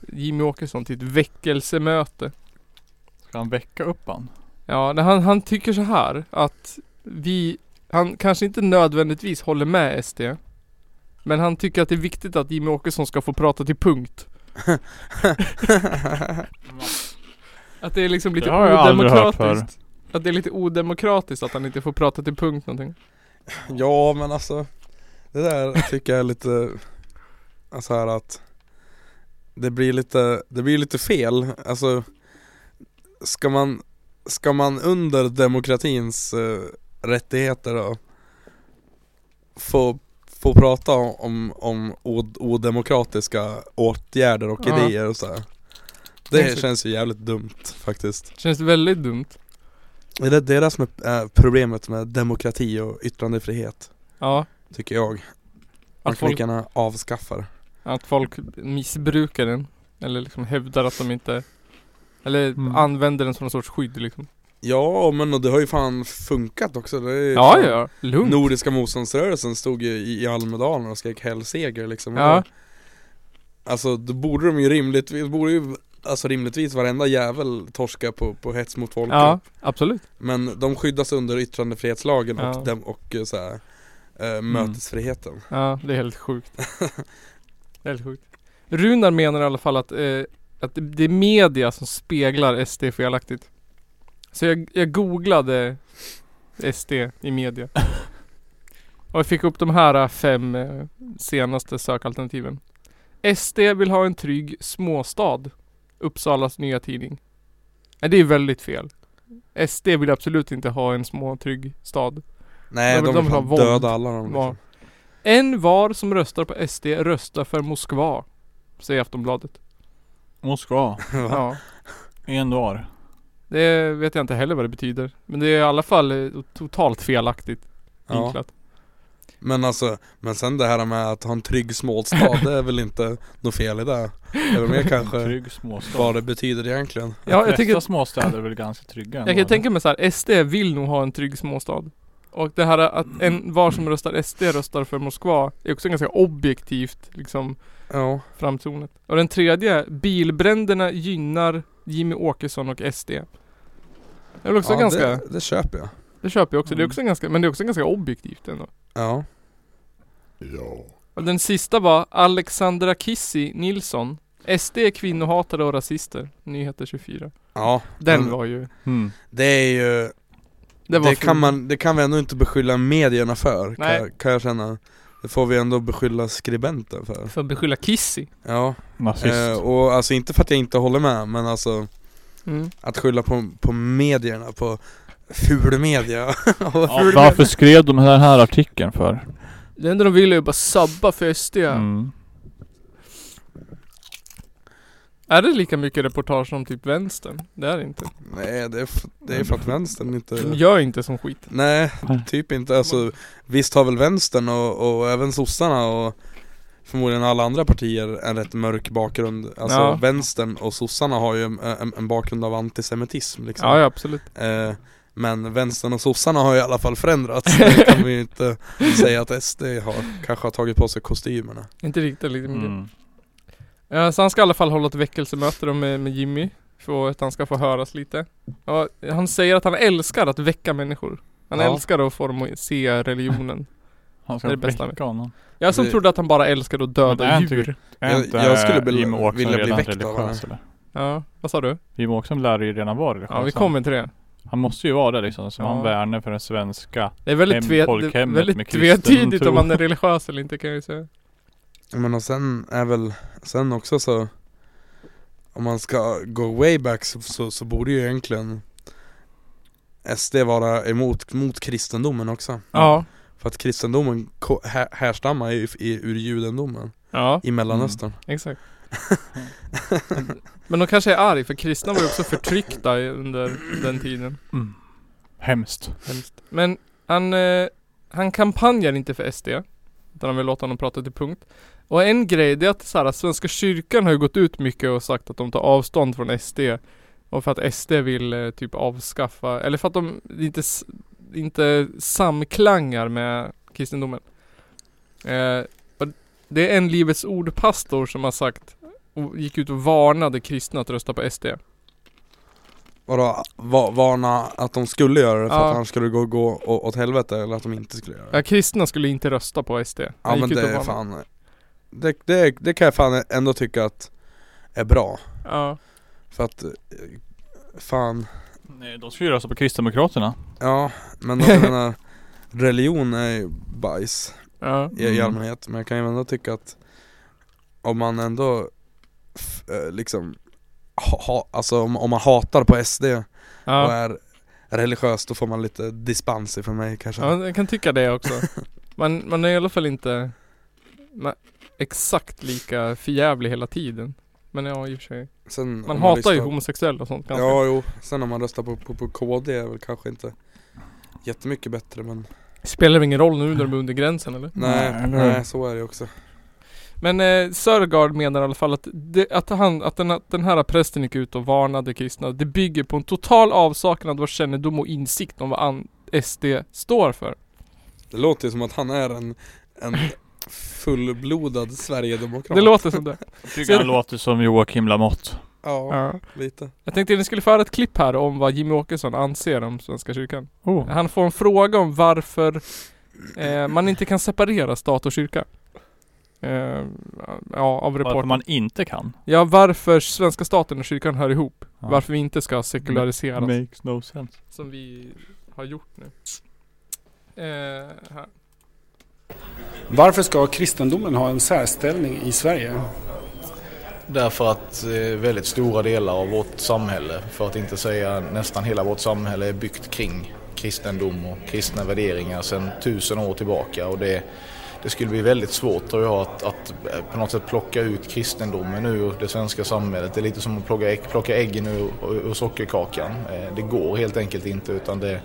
Jimmy Åkesson till ett väckelsemöte Ska han väcka upp han? Ja, det- han, han tycker så här att vi Han kanske inte nödvändigtvis håller med SD Men han tycker att det är viktigt att Jimmy Åkesson ska få prata till punkt Att det är liksom lite Det har jag aldrig hört odemokratiskt Att det är lite odemokratiskt att han inte får prata till punkt någonting Ja men alltså. Det där tycker jag är lite, alltså här att det blir lite, det blir lite fel. Alltså, ska man, ska man under demokratins eh, rättigheter då få, få prata om, om od- odemokratiska åtgärder och Ja. idéer och så här. Det Exakt. känns ju jävligt dumt faktiskt. Känns väldigt dumt Det är det där som är eh, problemet med demokrati och yttrandefrihet. Ja Tycker jag. Man Att kan folk, lika gärna avskaffa det. att folk missbrukar den Eller liksom hävdar att de inte Eller Mm. använder den som någon sorts skydd liksom Ja men och det har ju fan funkat också det är Ja, fan- ja, lugnt. Nordiska motståndsrörelsen stod ju i, i Almedalen och skrek Hell seger liksom Ja. Alltså då borde de ju rimligtvis, borde ju Alltså rimligtvis varenda jävel torska på, på hets mot folkgrupp Ja, absolut. Men de skyddas under yttrandefrihetslagen Ja. Mm. och, dem, och eh, så här, eh, mötesfriheten Ja, det är helt sjukt. Det är helt sjukt. Runar menar i alla fall att, eh, att det- det är media som speglar SD felaktigt. Så jag, jag googlade SD i media. Och jag fick upp de här eh, fem eh, senaste sökalternativen. SD vill ha en trygg småstad. Uppsalas nya tidning. Nej, det är väldigt fel. SD vill absolut inte ha en små trygg stad. Nej Ja, men de de, de vill har fan våld. döda alla de Ja. liksom. En var som röstar på SD röstar för Moskva. Säger Aftonbladet. Moskva. *laughs* Va? Ja. En dag. Det vet jag inte heller vad det betyder. Men det är i alla fall eh, totalt felaktigt ja. vinklat. Men alltså, men sen det här med att ha en trygg småstad det är väl inte något fel i det Det är väl mer kanske Trygg småstad. vad det betyder egentligen Ja, jag De flesta tänker- småstäder är väl ganska trygga ändå, Jag kan eller? tänka mig så här, SD vill nog ha en trygg småstad. Och det här att en var som röstar SD röstar för Moskva är också ganska objektivt liksom Ja framtonat. Och den tredje, bilbränderna gynnar Jimmy Åkesson och SD. Det är väl också ja, ganska, det, det, det köper jag köper jag också. Det är Mm. också ganska, men det är också ganska objektivt ändå. Ja Och den sista var Alexandra Kissi Nilsson. SD är kvinnohatare och rasister. Nyheter 24. Ja Den men var ju... Mm. Det är ju Det Det, var kan man, det kan vi ändå inte beskylla medierna för Nej. kan, kan jag känna Det får vi ändå beskylla skribenten för För att beskylla Kissi. Ja, Nazist. eh, och alltså inte för att jag inte håller med men alltså Mm. Att skylla på, på medierna, på ful media *laughs* och ja, *laughs* ful media. varför skrev de den här artikeln för? Det enda de vill är ju bara sabba för SD. Mm. Är det lika mycket reportage om typ vänstern? Det är det inte. Nej det är, f- det är för att vänstern De inte gör inte som skit. Nej, typ inte alltså Visst har väl vänstern och, och även sossarna och Förmodligen alla andra partier en rätt mörk bakgrund Alltså Ja. vänstern och sossarna har ju en, en, en bakgrund av antisemitism liksom Ja, ja absolut. Eh, Men vänstern och sossarna har ju i alla *laughs* fall förändrats Det kan vi ju inte säga att SD har Kanske har tagit på sig kostymerna Inte riktigt lika mycket. Mm. Ja, så han ska i alla fall hålla ett väckelsemöte då med, med Jimmy. För att han ska få höras lite. Ja, han säger att han älskar att väcka människor. Han Ja. älskar att få dem att se religionen. Han Det ska är det bästa med- väcka honom. Jag som Det- trodde att han bara älskade att Men det döda är inte- djur. Är Jag- inte jag skulle eh, vilja- Jimmy Åkesson vilja bli redan väckt av religiös eller? Ja, vad sa du? Jimmy Åkesson lär ju redan vara religiös. Ja, vi kommer till det. Han måste ju vara det liksom, som Ja. han värnar för den svenska. Det är väldigt, Hem- tve, det är folkhemmet väldigt med kristen tvetydigt om tro. man är religiös eller inte kan jag ju säga. Men och sen är väl, sen också så Om man ska gå way back så, så, så borde ju egentligen SD vara emot mot kristendomen också Ja. För att kristendomen ko- här, härstammar ju i, ur judendomen Ja, i mellanöstern exakt. Men de kanske är arg för kristna var ju också förtryckta i- under den tiden. Mm. Hemskt. Hemskt. Men han, eh, han kampanjar inte för SD. Utan han vill låta honom prata till punkt. Och en grej det är att så här, Svenska kyrkan har ju gått ut mycket och sagt att de tar avstånd från SD. Och för att SD vill eh, typ avskaffa, eller för att de inte, s- inte samklangar med kristendomen. Eh, och det är en Livets Ord-pastor som har sagt och gick ut och varnade kristna att rösta på SD. Vadå, va, varna att de skulle göra det för Ja. att annars skulle det gå, gå å- åt helvete eller att de inte skulle göra det Ja, kristna skulle inte rösta på SD. Ja Han men gick ut det och är varnade. fan det, det, det kan jag fan ändå tycka att är bra Ja. För att, eh, fan Nej, de ska ju rösta på Kristdemokraterna. Ja, men då, *laughs* jag menar Religion är ju bajs Ja. i, i Mm. allmänhet Men jag kan ju ändå tycka att Om man ändå f- eh, liksom ha, ha, Alltså om, om man hatar på SD och Ja. är religiös då får man lite dispens ifrån mig kanske ja, jag kan tycka det också. *laughs* Man, man är i alla fall inte ma- exakt lika förjävlig hela tiden. Men ja, i och för sig. Sen, Man om hatar lyssnar- ju homosexuella och sånt ganska. Ja jo, sen om man röstar på, på, på KD är väl kanske inte jättemycket bättre men Spelar det ingen roll nu när de är under gränsen eller? Nej, nej, eller- nej så är det ju också Men eh, Sörgard menar i alla fall att, det, att, han, att, den, att den här prästen gick ut och varnade kristna. Det bygger på en total avsaknad av kännedom och insikt om vad an- SD står för. Det låter ju som att han är en, *laughs* en fullblodad Sverigedemokrat Det låter *laughs* som det. Jag tycker han låter som Joakim Lamotte. ja, Ja. lite Jag tänkte att ni skulle föra ett klipp här om vad Jimmy Åkesson anser om Svenska kyrkan. Oh. Han får en fråga om varför eh, man inte kan separera stat och kyrka. Eh, ja, av Varför reportern. man inte kan. Ja, varför svenska staten och kyrkan hör ihop. Ja. Mm. Varför vi inte ska sekulariseras. Makes no sense. Som vi har gjort nu. Eh, här. Varför ska kristendomen ha en särställning i Sverige? Därför att eh, väldigt stora delar av vårt samhälle, för att inte säga nästan hela vårt samhälle, är byggt kring kristendom och kristna värderingar sedan tusen år tillbaka. Och det, det skulle bli väldigt svårt tror jag att, att eh, på något sätt plocka ut kristendomen ur det svenska samhället. Det är lite som att plocka, ägg, plocka äggen ur, ur sockerkakan. Eh, Det går helt enkelt inte utan det,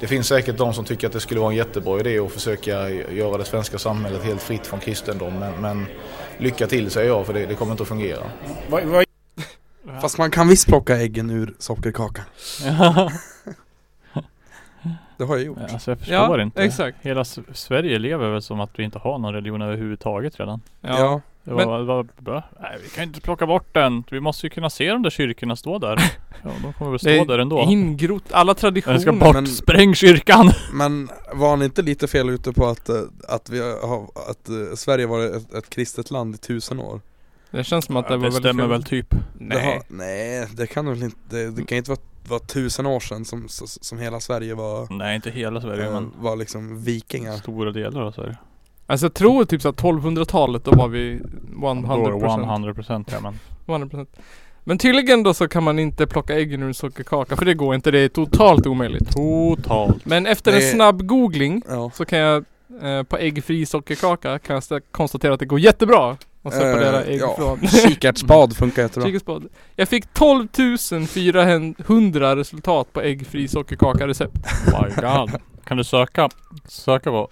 det finns säkert de som tycker att det skulle vara en jättebra idé att försöka göra det svenska samhället helt fritt från kristendom. Men, men lycka till säger jag för det, det kommer inte att fungera. Vad, vad Fast man kan visst plocka äggen ur sockerkakan Ja, Det har jag gjort alltså jag Ja, förstår inte. exakt. Hela S- Sverige lever väl som att vi inte har någon religion överhuvudtaget redan. Ja. ja. Det var, Men- det var, bra. Nej, vi kan inte plocka bort den. Vi måste ju kunna se de där kyrkorna stå *laughs* där. Ja, de kommer väl Det stå är där ändå. Ingrott, alla traditioner. Den ska bort. men- Spräng kyrkan! *laughs* Men var han inte lite fel ute på att, eh, att, vi har, att eh, Sverige var ett, ett kristet land i tusen år? Det känns som att det det var väldigt stämmer fel. väl typ. Det, Nej. har, nej, det kan väl inte, det, det kan ju inte vara, vara tusen år sedan som, s- som hela Sverige var, Nej, inte hela Sverige eh, men var liksom vikingar stora delar av Sverige. Alltså jag tror typ såhär 1200-talet, då var vi 100%. Då är det 100% ja men. 100%. Men tydligen då så kan man inte plocka äggen ur en sockerkaka, för det går inte. Det är totalt omöjligt. Totalt. Men efter Det- en snabb googling Ja, så kan jag eh, på äggfri sockerkaka kan jag stä- konstatera att det går jättebra att separera Eh, ägg ja. *laughs* från kikärtsspad funkar jättebra kikärtsspad. Jag fick 12 400 resultat på äggfri sockerkaka-recept. My god. Kan du söka, söka på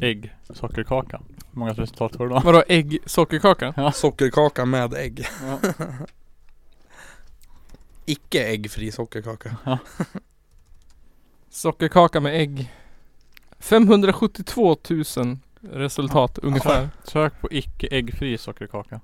ägg, sockerkaka? Hur många resultat får du då? Vadå ägg sockerkaka? Sockerkaka med ägg Ja. *laughs* Icke äggfri sockerkaka Sockerkaka med ägg. 572 000 resultat ungefär. Sök på icke äggfri sockerkaka.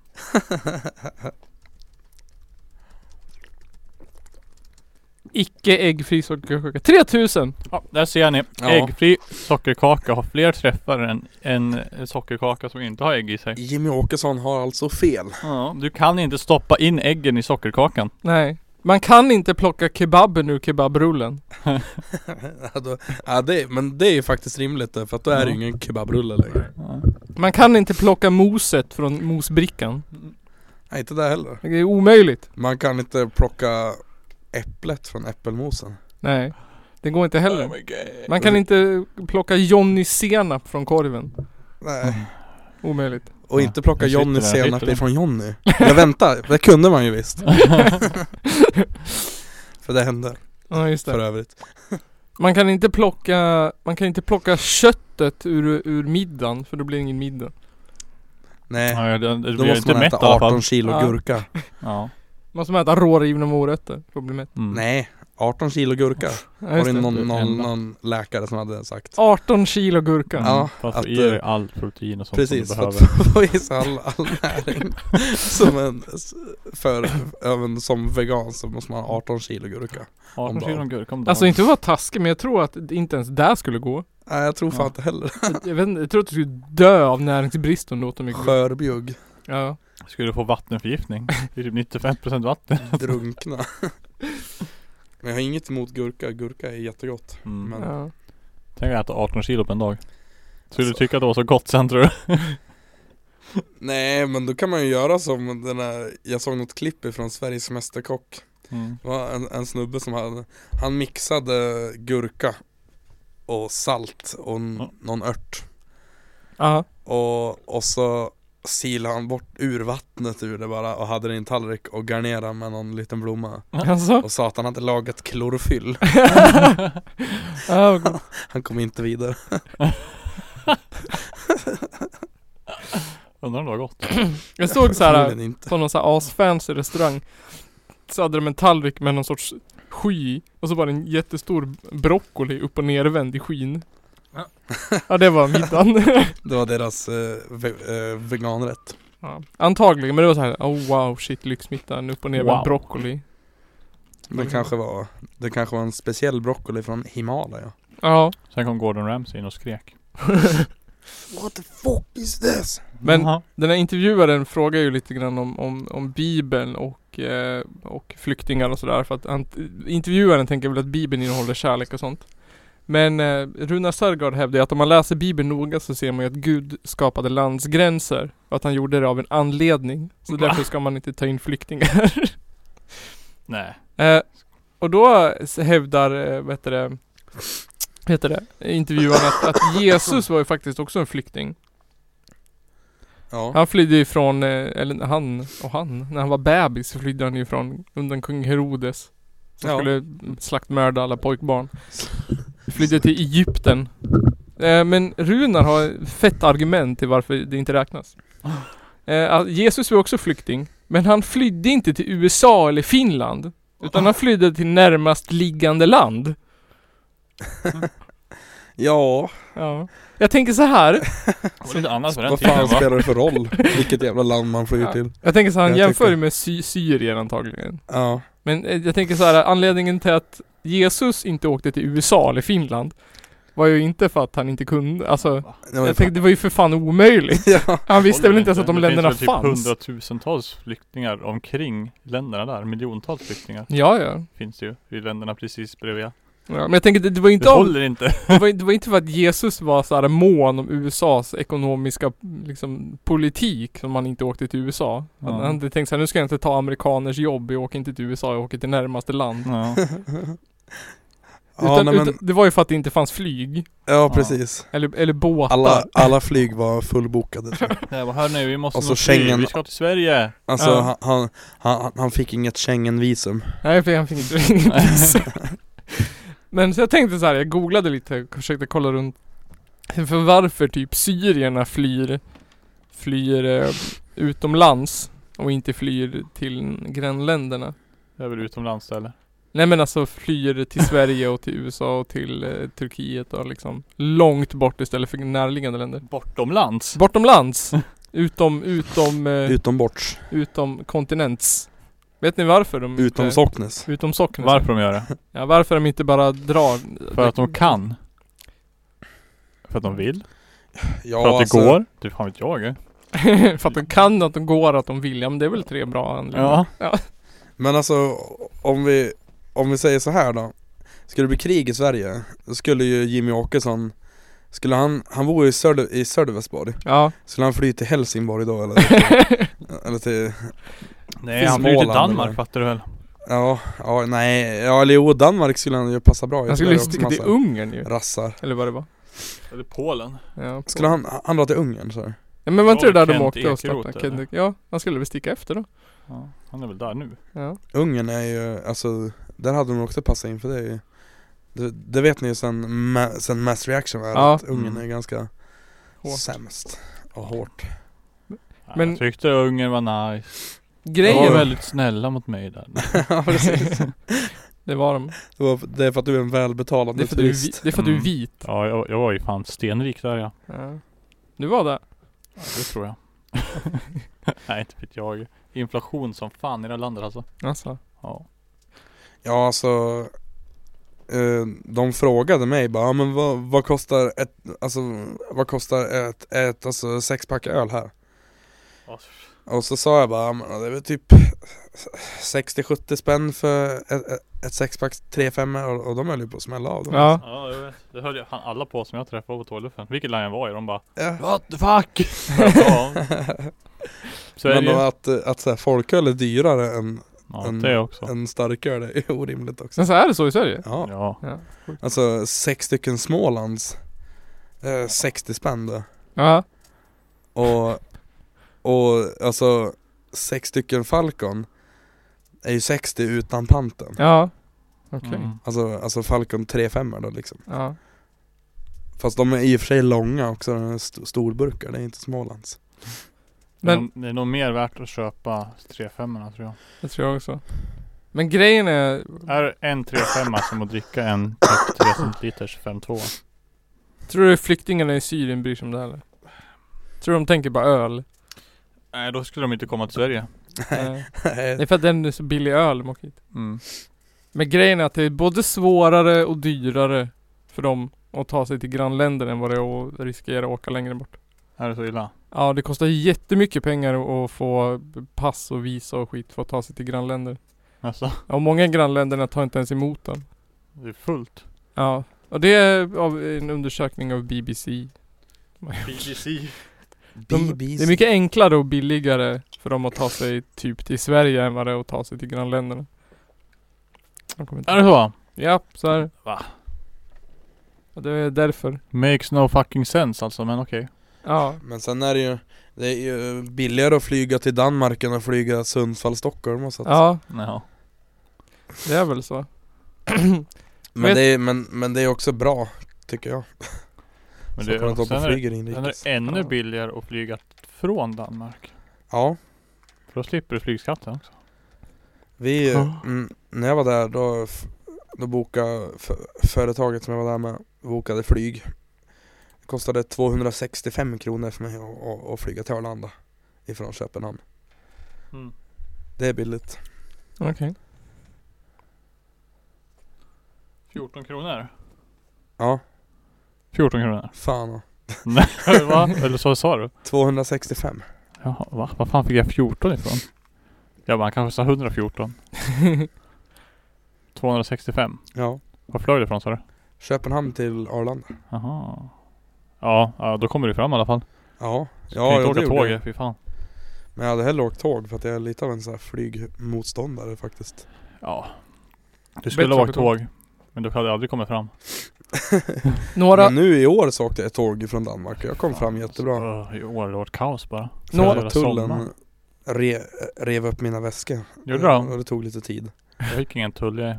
Icke äggfri sockerkaka. 3 000! Ja, där ser ni. Ja. Äggfri sockerkaka har fler träffar än en sockerkaka som inte har ägg i sig. Jimmy Åkesson har alltså fel Ja, du kan inte stoppa in äggen i sockerkakan. Nej. Man kan inte plocka kebaben ur kebabrullen. ja, då, ja, det, Men det är ju faktiskt rimligt där, för att då är det ju ingen kebabrulle längre Man kan inte plocka moset från mosbrickan. Nej inte där heller Det är omöjligt. Man kan inte plocka äpplet från äppelmosen Nej. Det går inte heller. my god Man kan inte plocka Johnny Senap från korven. Nej, Omöjligt. och Ja, inte plocka där sitter Johnny den, senap sitter den. ifrån Johnny Jag vänta, det kunde man ju *laughs* visst För det hände, Ja just för det. övrigt Man kan inte plocka, man kan inte plocka köttet ur, ur middagen för då blir det ingen middag. Nej, Ja, det, det då blir måste inte man mätt i äta alla fall. Mm. 18 kilo Ja. gurka Ja. Man som äta rårivna morötter för att bli mätt. Mm. Nej, 18 kilo gurka Ja, Var just det det. typ någon, någon, Ända. någon läkare som hade sagt 18 kilo gurka. Mm. Ja, Fast att, att, i dig eh, all protein och sånt Precis, som du för behöver. att *laughs* få i sig all, all *laughs* näring som en, för, även som vegan så måste man ha 18 kilo gurka 18 om kilo dagen. gurka om dagen. Alltså inte för att vara taskig men jag tror att det inte ens där skulle gå. Nej jag tror fan Ja. inte heller *laughs* Jag, vet, inte, jag tror att du skulle dö av näringsbrist om du åt så mycket. *laughs* gurka. Skörbjugg, Ja. Skulle du få vattenförgiftning? Det är typ 95% vatten. drunkna Men jag har inget emot gurka, gurka är jättegott Mm. Men- ja. Tänk att äta 18 kilo på en dag. Skulle du Alltså. tycka att det var så gott sen tror du? Nej men då kan man ju göra som den där, jag såg något klipp ifrån Sveriges Mästerkock Mm. Det var en, en snubbe som hade, han mixade gurka och salt och n- Ja. någon ört Ja. och, och så silade han bort ur vattnet ur det bara och hade det i en tallrik och garnerade med någon liten blomma Alltså? och sa att han hade lagat klorofyll *laughs* Ja, vad gott. *laughs* Han kom inte vidare Undrar om det har gått. Jag såg så här Förmodligen inte. på någon så här asfancy restaurang Så hade de en tallrik med någon sorts sky Och så var det en jättestor broccoli upp och nervänd i skyn Ja. Ja det var middagen Det var deras eh, ve- eh, veganrätt. ja. *laughs* Antagligen men det var så här, oh wow shit lyxmittan upp och nervänd Wow. broccoli Mm. Det kanske var, det kanske var en speciell broccoli från Himalaya. Ja Sen kom Gordon Ramsay in och skrek. What the fuck is this? Men- Jaha. Den här intervjuaren frågar ju lite grann om, om, om Bibeln och, eh, och flyktingar och sådär för att han, intervjuaren tänker väl att Bibeln innehåller kärlek och sånt. Men eh, Runar Sörgård hävdar ju att om man läser Bibeln noga så ser man ju att Gud skapade landsgränser och att han gjorde det av en anledning. Så Va? därför ska man inte ta in flyktingar. *laughs* Nej. Eh, och då s- hävdar, eh, vad heter det, heter det, intervjuaren att, att Jesus var ju faktiskt också en flykting. Ja. Han flydde ifrån, eh, eller han och han, när han var bebis så flydde han ifrån undan kung Herodes. Som Ja. skulle slaktmörda alla pojkbarn. Flydde till Egypten. Eh, men Runar har ett fett argument till varför det inte räknas. Ah. Eh, att Jesus var också flykting, men han flydde inte till USA eller Finland. Utan Ah. han flydde till närmast liggande land. Ja, Ja. Jag tänker så här. Det var lite annat för den vad tiden fan va? spelar det *laughs* för roll? Vilket jävla land man flyr Ja. till. Jag tänker så här, han Jag jämför tycker- ju med sy- Syrien antagligen. Ja. Men eh, jag tänker så här, anledningen till att Jesus inte åkte till USA eller Finland var ju inte för att han inte kunde, alltså Det var ju jag tänkte det var ju för fan omöjligt. *laughs* Ja, Han visste väl Håller inte ens att de Det finns länderna väl fanns. Typ hundratusentals flyktingar omkring länderna där. Miljontals flyktingar Ja, ja. finns det ju i länderna precis bredvid. ja. Men jag tänker det, det var ju inte Det av, håller inte. det var, det var inte för att Jesus var så här mån om USAs ekonomiska liksom, politik som han inte åkte till USA. Han, Ja. han hade tänkt så här, nu ska jag inte ta amerikaners jobb, jag åker inte till USA, jag åker till närmaste land. Ja. ja, utan, nej, men, utan, det var ju för att det inte fanns flyg, ja precis. eller, eller båtar. Alla, alla flyg var fullbokade tror jag. Nej, vad hör ni? Vi måste Och så nog fly. Alltså, Schengen- Vi ska till Sverige. Alltså Ja. han- han, han, han fick inget Schengen-visum. Nej, för han fick inte *laughs* ringa polisen. Men så jag tänkte så här, jag googlade lite och försökte kolla runt. För varför typ syrierna flyr, flyr eh, utomlands och inte flyr till grannländerna. Det är väl utomlands eller? Nej men alltså flyr till Sverige och till USA och till eh, Turkiet och liksom långt bort istället för närliggande länder. Bortomlands? Bortomlands! Utom, utom, eh, Utomborts. utom kontinents. Vet ni varför de Utom inte, Socknes. utom socknet? Varför de gör det? Ja, varför de inte bara drar? För att de kan? För att de vill? Ja, alltså- För att det går? Det fan vet jag ju. *laughs* för att de kan, att de går, att de vill. Ja men det är väl tre bra anledningar. Ja. Men alltså om vi, om vi säger så här då Skulle det bli krig i Sverige Då skulle ju Jimmy Åkesson Skulle han, han bor ju i, Sölve, i Sölvesborg *laughs* Ja. Skulle han fly till Helsingborg då eller? *laughs* eller till, Nej Finns han flyr till Småland, Danmark eller? fattar du väl? ja, ja, nej, ja eller jo Danmark skulle han ju passa bra i Han skulle Där ju är också sticka till massa Ungern ju. Rassar Eller vad det var. Eller Polen? Ja, på- Skulle han, han drar till Ungern så här? ja, men var inte det Ja, där de Kent åkte och Ekeroth, startade? eller? Kent, ja, han skulle väl sticka efter då. Ja, han är väl där nu? Ja. Ungern är ju, alltså Där hade de också passat in för det är ju det, det vet ni ju sen, ma- sen Mass Reaction är Ja. att Ungern Mm. är ganska Hårt. sämst *laughs* och hårt Ja, Men- Jag tyckte Ungern var nice. De Grejen var Ja. väldigt snälla mot mig där. Ja *laughs* precis Det var de. Det, var, det är för att du är en Det välbetalande är för att du är, vi, turist. det är, för att du är Mm. vit. *laughs* Ja jag, jag var ju fan stenrik där ja. Ja. Du var det. ja det tror jag. *laughs* Nej inte vet jag. Inflation som fan i det här landet alltså. Alltså. Ja. Ja alltså eh, De frågade mig bara, "Ja, men vad, vad kostar ett, alltså vad kostar ett, ett alltså sexpack öl här? Och så sa jag bara, "Ja, men det är väl typ 60-70 spänn för ett, ett- ett sexpack 3-5 och, och de höll ju på att smälla av dem. Ja. Ja jag vet. Det höll jag fan alla på som jag träffade på tågluffen. Vilket land jag var i. De bara Ja. What the fuck? *laughs* *laughs* ja. Men Sverige? då att, att så här, folköl är dyrare än, Ja en- det också. än starköl är *laughs* ju orimligt också. Sen så är det så i Sverige. Ja. Ja. Ja. Alltså sex stycken Smålands eh, 60 spänn då. Ja. Och, och alltså sex stycken Falcon är ju 60 utan panten. Ja. Okej. Mm. Alltså, alltså Falcon 35 då liksom. Ja. Fast de är i och för sig långa också, de är st- storburkar, det är inte Smålands. *laughs* Men... Det, är Men- nog, det är nog mer värt att köpa 35 tror jag. Det tror jag också. Men grejen är, Är en 35 som att dricka en 33 centiliters 52 tror du flyktingarna i Syrien bryr sig om det här eller? Tror du de tänker bara öl? Nej, då skulle de inte komma till Sverige. Nej. Det Nej, är för att den är så billig öl de åker hit. Mm. Men grejen är att det är både svårare och dyrare för dem att ta sig till grannländer än vad det är att riskera att åka längre bort. Är det så illa? Ja, det kostar jättemycket pengar att få pass och visa och skit för att ta sig till grannländer. Alltså, Ja, Och många grannländerna tar inte ens emot dem. det är fullt. Ja, och det är av en undersökning av BBC. BBC. De, det är mycket enklare och billigare för dem att ta sig typ till Sverige än vad det är att ta sig till grannländerna. Jag kommer Är inte- det så? Ja, så är det. Va? Och det är därför. Makes no fucking sense alltså, men okej. Ja, Men sen är det ju Det är ju billigare att flyga till Danmark än att flyga Sundsvall-Stockholm och så att, ja Ja. det är väl så. *clears throat* men, vet- det är, men, men det är också bra Tycker jag Men Så det, att man inte sen, hoppar och är, det- flyger sen är inrikes det ännu Ja. billigare att flyga från Danmark. Ja För då slipper du flygskatten också. Vi, Ja. mm, när jag var där då, f- då bokade f- företaget som jag var där med, bokade flyg Det kostade 265 kronor för mig att- att, att flyga till Arlanda ifrån Köpenhamn Mm. Det är billigt Okej. 14 kronor? Ja, 14 kronor. fan och- Nej, *laughs* va? Eller så sa du? 265 Jaha, va? Var fan fick jag 14 ifrån? Ja, man kanske sa *laughs* 114. 265. Ja Var flög du ifrån sa du? Köpenhamn till Arlanda Jaha. Ja, ja, då kommer du fram i alla fall. Ja, Ja, ja kan ju ja, inte det åka gjorde tåg, jag. fy fan. Men jag hade hellre åkt tåg för att jag är lite av en sån här flygmotståndare faktiskt Ja. Du skulle Bättre ha åka åkt tåg. Men du hade aldrig kommit fram. Några, Mm. Men nu i år så åkte jag tåg från Danmark och jag kom fram jättebra Öh, I år har det varit kaos bara. Några- Jävla Några sommar. tullen re, rev upp mina väskor Gjorde de? Och det tog lite tid Jag fick ingen tull. Jag...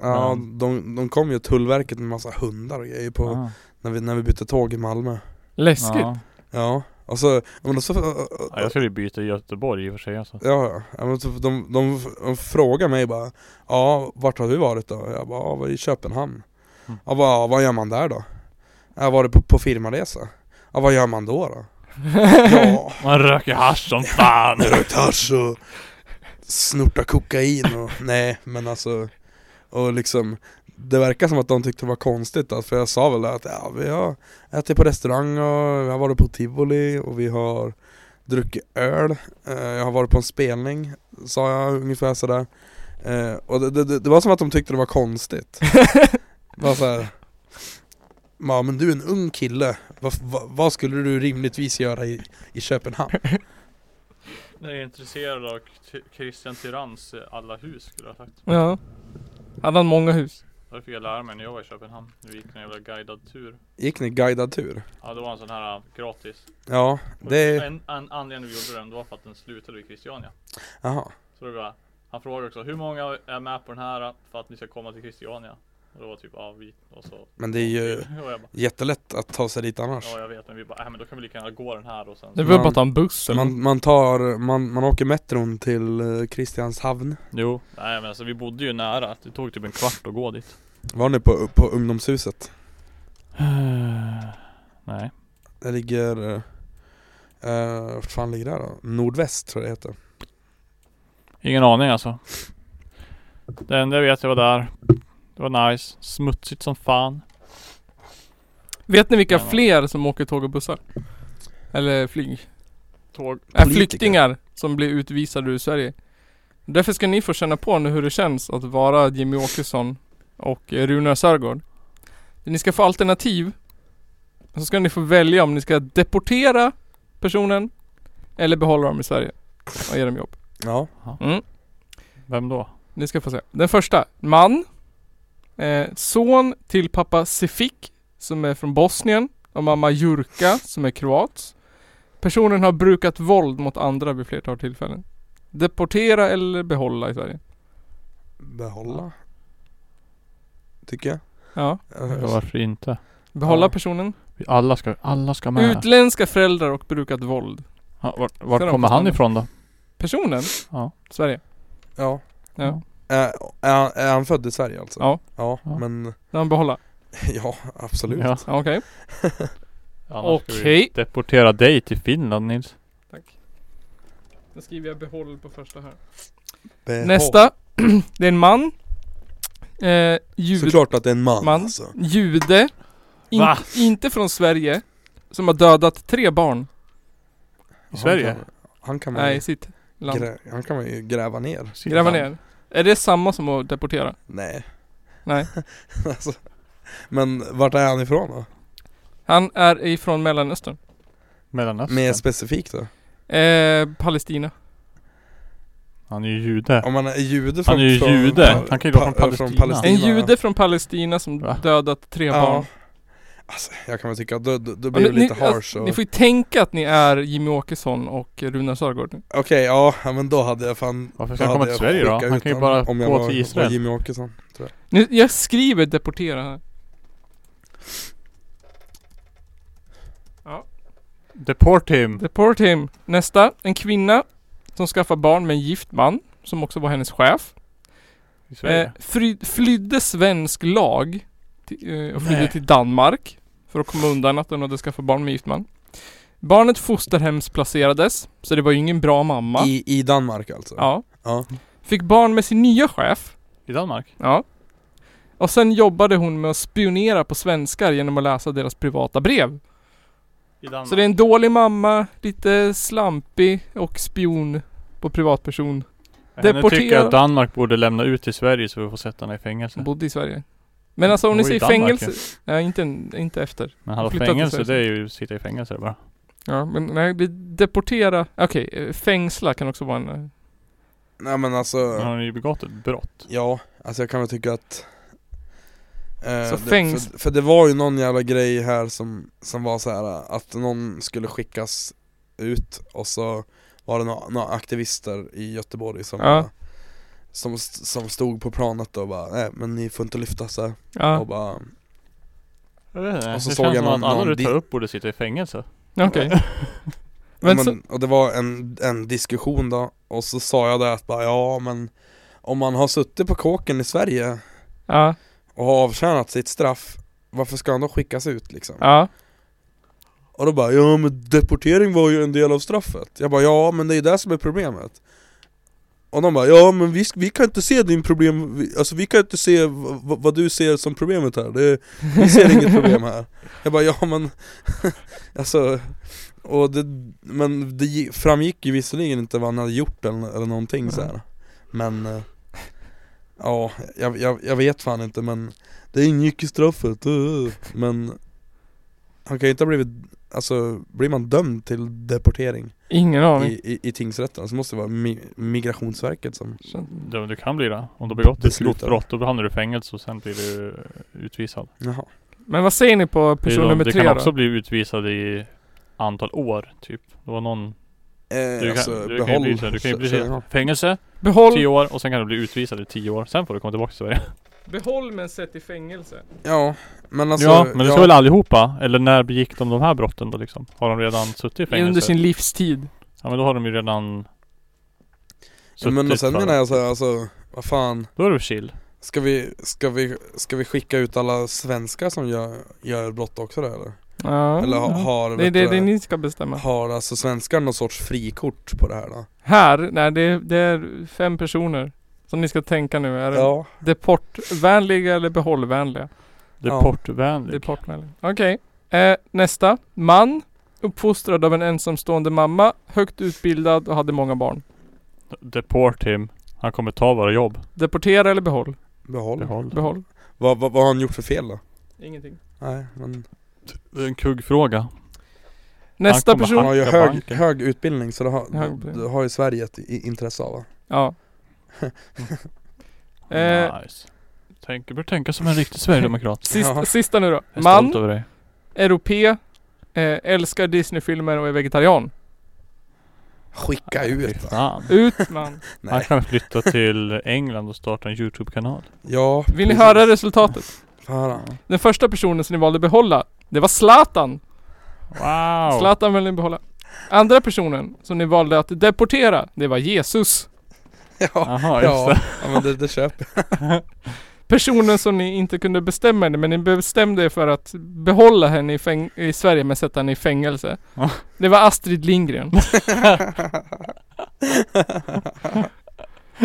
Ja, Mm. de, de kom ju Tullverket med massa hundar och grejer på Ah, när, vi, när vi bytte tåg i Malmö läskigt. Ja. Ja, och så, ja, men då så Ja, jag skulle ju byta i Göteborg i och för sig alltså. Ja, ja. ja, men så de, de, de frågar mig bara Ja, vart har du varit då? Jag bara, ja, var i Köpenhamn Mm. Ja, vad, ja, vad gör man där då? Jag har varit på, på firmaresa Ja, vad gör man då då? ja, *laughs* Man röker hasch som fan! rökt hasch och snortat kokain och nej, men alltså Och liksom Det verkar som att de tyckte det var konstigt att, för jag sa väl att ja, vi har ätit på restaurang och vi har varit på tivoli och vi har druckit öl Eh, Jag har varit på en spelning, sa jag ungefär sådär Eh, Och det, det- det, det var som att de tyckte det var konstigt Det var såhär Ja men du är en ung kille, vad, vad, vad skulle du rimligtvis göra i, i Köpenhamn? Jag är intresserad av Christian Tyrans alla hus skulle jag ha sagt. *laughs* ja. Hade han många hus? Därför fick jag lära mig när jag var i Köpenhamn. Vi gick en jävla guidad tur. Gick ni guidad tur? Ja det var en sån här äh, gratis. Ja, Och det... En, en anledning vi gjorde den det var för att den slutade vid Christiania. Jaha Så det var, han frågade också hur många är med på den här äh, för att ni ska komma till Christiania? Och det var typ ja vi och så. Men det är ju *laughs* Och jag bara, jättelätt att ta sig dit annars ja jag vet men vi bara äh, men då kan vi lika gärna gå den här och sen. Det var bara Man- att ta en buss eller? man, man tar, man, man åker metron till eh, Kristianshavn Jo. Nej men alltså vi bodde ju nära. Det tog typ en kvart att gå dit. Var ni på, på ungdomshuset? *sighs* Nej. Det ligger... Uh, vart fan ligger det här då? Nordväst tror jag det heter Ingen aning alltså. Det enda jag vet jag var där. Det var nice. Smutsigt som fan. Vet ni vilka Ja. fler som åker tåg och bussar? Eller flyg? Tåg. Äh, Politiker. flyktingar som blir utvisade ur Sverige. Därför ska ni få känna på nu hur det känns att vara Jimmy Åkesson och eh, Runar Sörgård. Ni ska få alternativ. Så ska ni få välja om ni ska deportera personen eller behålla dem i Sverige och ge dem jobb. Ja Vem *laughs* då? Ni ska få se. Den första. Man. Eh, son till pappa Sefik som är från Bosnien och mamma Jurka som är kroat. Personen har brukat våld mot andra vid flertal tillfällen. Deportera eller behålla i Sverige. Behålla Tycker jag Eh, Ja. Ja, varför inte? Behålla Ja. personen. Vi alla ska, alla ska med. Utländska föräldrar och brukat våld. Ja, vart vart Ser de kommer på han stan? ifrån då? Personen? Ja. Sverige? Ja. Ja. Är, är, han, är han född i Sverige alltså? Ja. Ja, Ja. men *laughs* Den han behålla? ja, absolut. Ja. Ja, Okej. Annars ska vi Okej. Deportera dig till Finland Nils. Tack. Då skriver jag behåll på första här. Behåll. Nästa. *clears throat* Det är en man. Eh, jud, Såklart att det är en man, Man. alltså. jude. In, Va? inte från Sverige. Som har dödat tre barn. I Sverige? Han kan, han kan man Nej, ju i sitt land. grä, han kan man ju gräva ner. Gräva ner. Är det samma som att deportera? Nej. Nej. *laughs* alltså. Men vart är han ifrån då? Han är ifrån Mellanöstern. Mellanöstern. Mer specifikt då? Eh, Palestina. Han är ju jude. Om man är jude från Han är ju från- jude. Han kan ju gå från pa- Palestina. En Palestina. jude från Palestina som Va? dödat tre Ja. barn. Alltså, jag kan väl tycka att då, då, då Ja, blir det ni- lite alltså, harsh och... Ni får ju tänka att ni är Jimmy Åkesson och Runar Sörgård nu. Okej, ja, ja, men då hade jag fan... Varför då ska han komma hade till jag Sverige då? skickat Han ut kan ju honom bara om jag gå var- till var Israel. Jimmy Åkesson, tror jag. Nu- Jag skriver deportera här. Deport him. Deport him. Nästa. En kvinna som skaffar barn med en gift man, som också var hennes chef. I Sverige. Eh, fry, flydde svensk lag till, eh, och flydde Nej. till Danmark för att komma undan att den hade skaffat barn med en gift man. Barnet fosterhemsplacerades, så det var ju ingen bra mamma. I, I Danmark alltså? Ja. Ja. Fick barn med sin nya chef. I Danmark? Ja. Och sen jobbade hon med att spionera på svenskar genom att läsa deras privata brev. I Danmark. Så det är en dålig mamma, lite slampig och spion på privatperson. Henne tycker jag deporterad. att Danmark borde lämna ut till Sverige så vi får sätta henne i fängelse. Som bodde i Sverige. Men alltså om ni Hon var i säger Danmark, fängelse. Nej, inte, inte efter. Men hallå Flytta till fängelse det är Sverige. ju att sitta i fängelse bara. Ja, men nej, det- deportera. Okej, eh, fängsla kan också vara en... eh, Nej men alltså, Men ja. har ni ju begått ett brott? alltså jag kan väl tycka att eh, Så det- fängs- för, för det var ju någon jävla grej här som, som var så här eh, att någon skulle skickas ut och så var det några några aktivister i Göteborg som, Ja. bara- som, st- som stod på planet och bara nej men ni får inte lyfta så här. och Ja, bara Jag vet inte. Och så det såg känns jag som att någon- alla någon du tar di- upp borde sitta i fängelse. *laughs* okej. Men Men men, så- Och det var en, en diskussion då, och så sa jag det att bara ja men Om man har suttit på kåken i Sverige Ja, och har avtjänat sitt straff Varför ska han då skickas ut liksom? ja. Och då bara ja men deportering var ju en del av straffet Jag bara ja men det är ju det som är problemet Och de bara ja men vi, vi kan inte se din problem vi- Alltså vi kan inte se v- v- vad du ser som problemet här det, Vi ser inget problem här Jag bara ja men *laughs* Alltså och det, Men det gi- framgick ju visserligen inte vad han hade gjort eller, eller någonting så här. Men eh, Ja, jag, jag, jag vet fan inte men Det ingick i straffet, eh. men Han kan ju inte ha blivit Alltså, blir man dömd till deportering Ingen i, aning. i, i tingsrätten så måste det vara mi- Migrationsverket som Du, du kan bli det. Om du har begått ett grovt Beslutar. brott då hamnar du i fängelse och sen blir du eh, utvisad. Jaha Men vad säger ni på person det, nummer det tre kan då? också bli utvisad i antal år typ. Det var någon... eh, Du kan, alltså, du, kan ju behåll bli, så- du kan ju kö- kö- bli fängelse Behåll, 10 år och sen kan du bli utvisad i 10 år. Sen får du komma tillbaka till Sverige. behåll men sätt i fängelse. Ja, men alltså ja, men det ska väl allihopa? Eller när begick de de här brotten då liksom? Har de redan suttit i fängelse? Under sin livstid. Ja men då har de ju redan... Ja, men och sen för- menar jag så här, alltså, vad fan Då är du chill. Ska vi, ska vi, ska vi skicka ut alla svenskar som gör, gör brott också då eller? Ja. Eller ha, ja. har, Det är vet det, du det ni ska bestämma. Har alltså svenskar någon sorts frikort på det här då? Här, nej det, det är fem personer. Som ni ska tänka nu. Är det Ja, deportvänliga eller behållvänliga? Ja. Deportvänlig. Deportvänliga. Okej. Eh, nästa. Man. Uppfostrad av en ensamstående mamma. Högt utbildad och hade många barn. Deport him. Han kommer ta våra jobb. Deportera eller behåll? behåll. Behåll. Behåll. Vad, vad, vad har han gjort för fel då? Ingenting. Nej, men Det är en kuggfråga. Nästa Han kommer- person. han har ju Banka, hög, banka. hög utbildning så det har, Hög utbildning. det har ju Sverige ett i- intresse av va? *laughs* Ja. eh, Nice. Tänk, du bör tänka som en riktig *laughs* sverigedemokrat. sista, Ja. sista nu då. Jag är Man. stolt över dig. Europé. Eh, älskar Disneyfilmer och är vegetarian. Skicka Fy ut då. Fan. Ut *laughs* man. Han Nej, kan flytta till England och starta en Youtube-kanal. ja Vill ni precis. höra resultatet? Fan. Den första personen som ni valde att behålla, det var Zlatan. Wow! Zlatan vill ni behålla. Andra personen som ni valde att deportera, det var Jesus. Ja, Jaha, just ja, det. ja men det, det köper Personen som ni inte kunde bestämma er men ni bestämde er för att behålla henne i, fäng- i Sverige men sätta henne i fängelse. Ja. Det var Astrid Lindgren.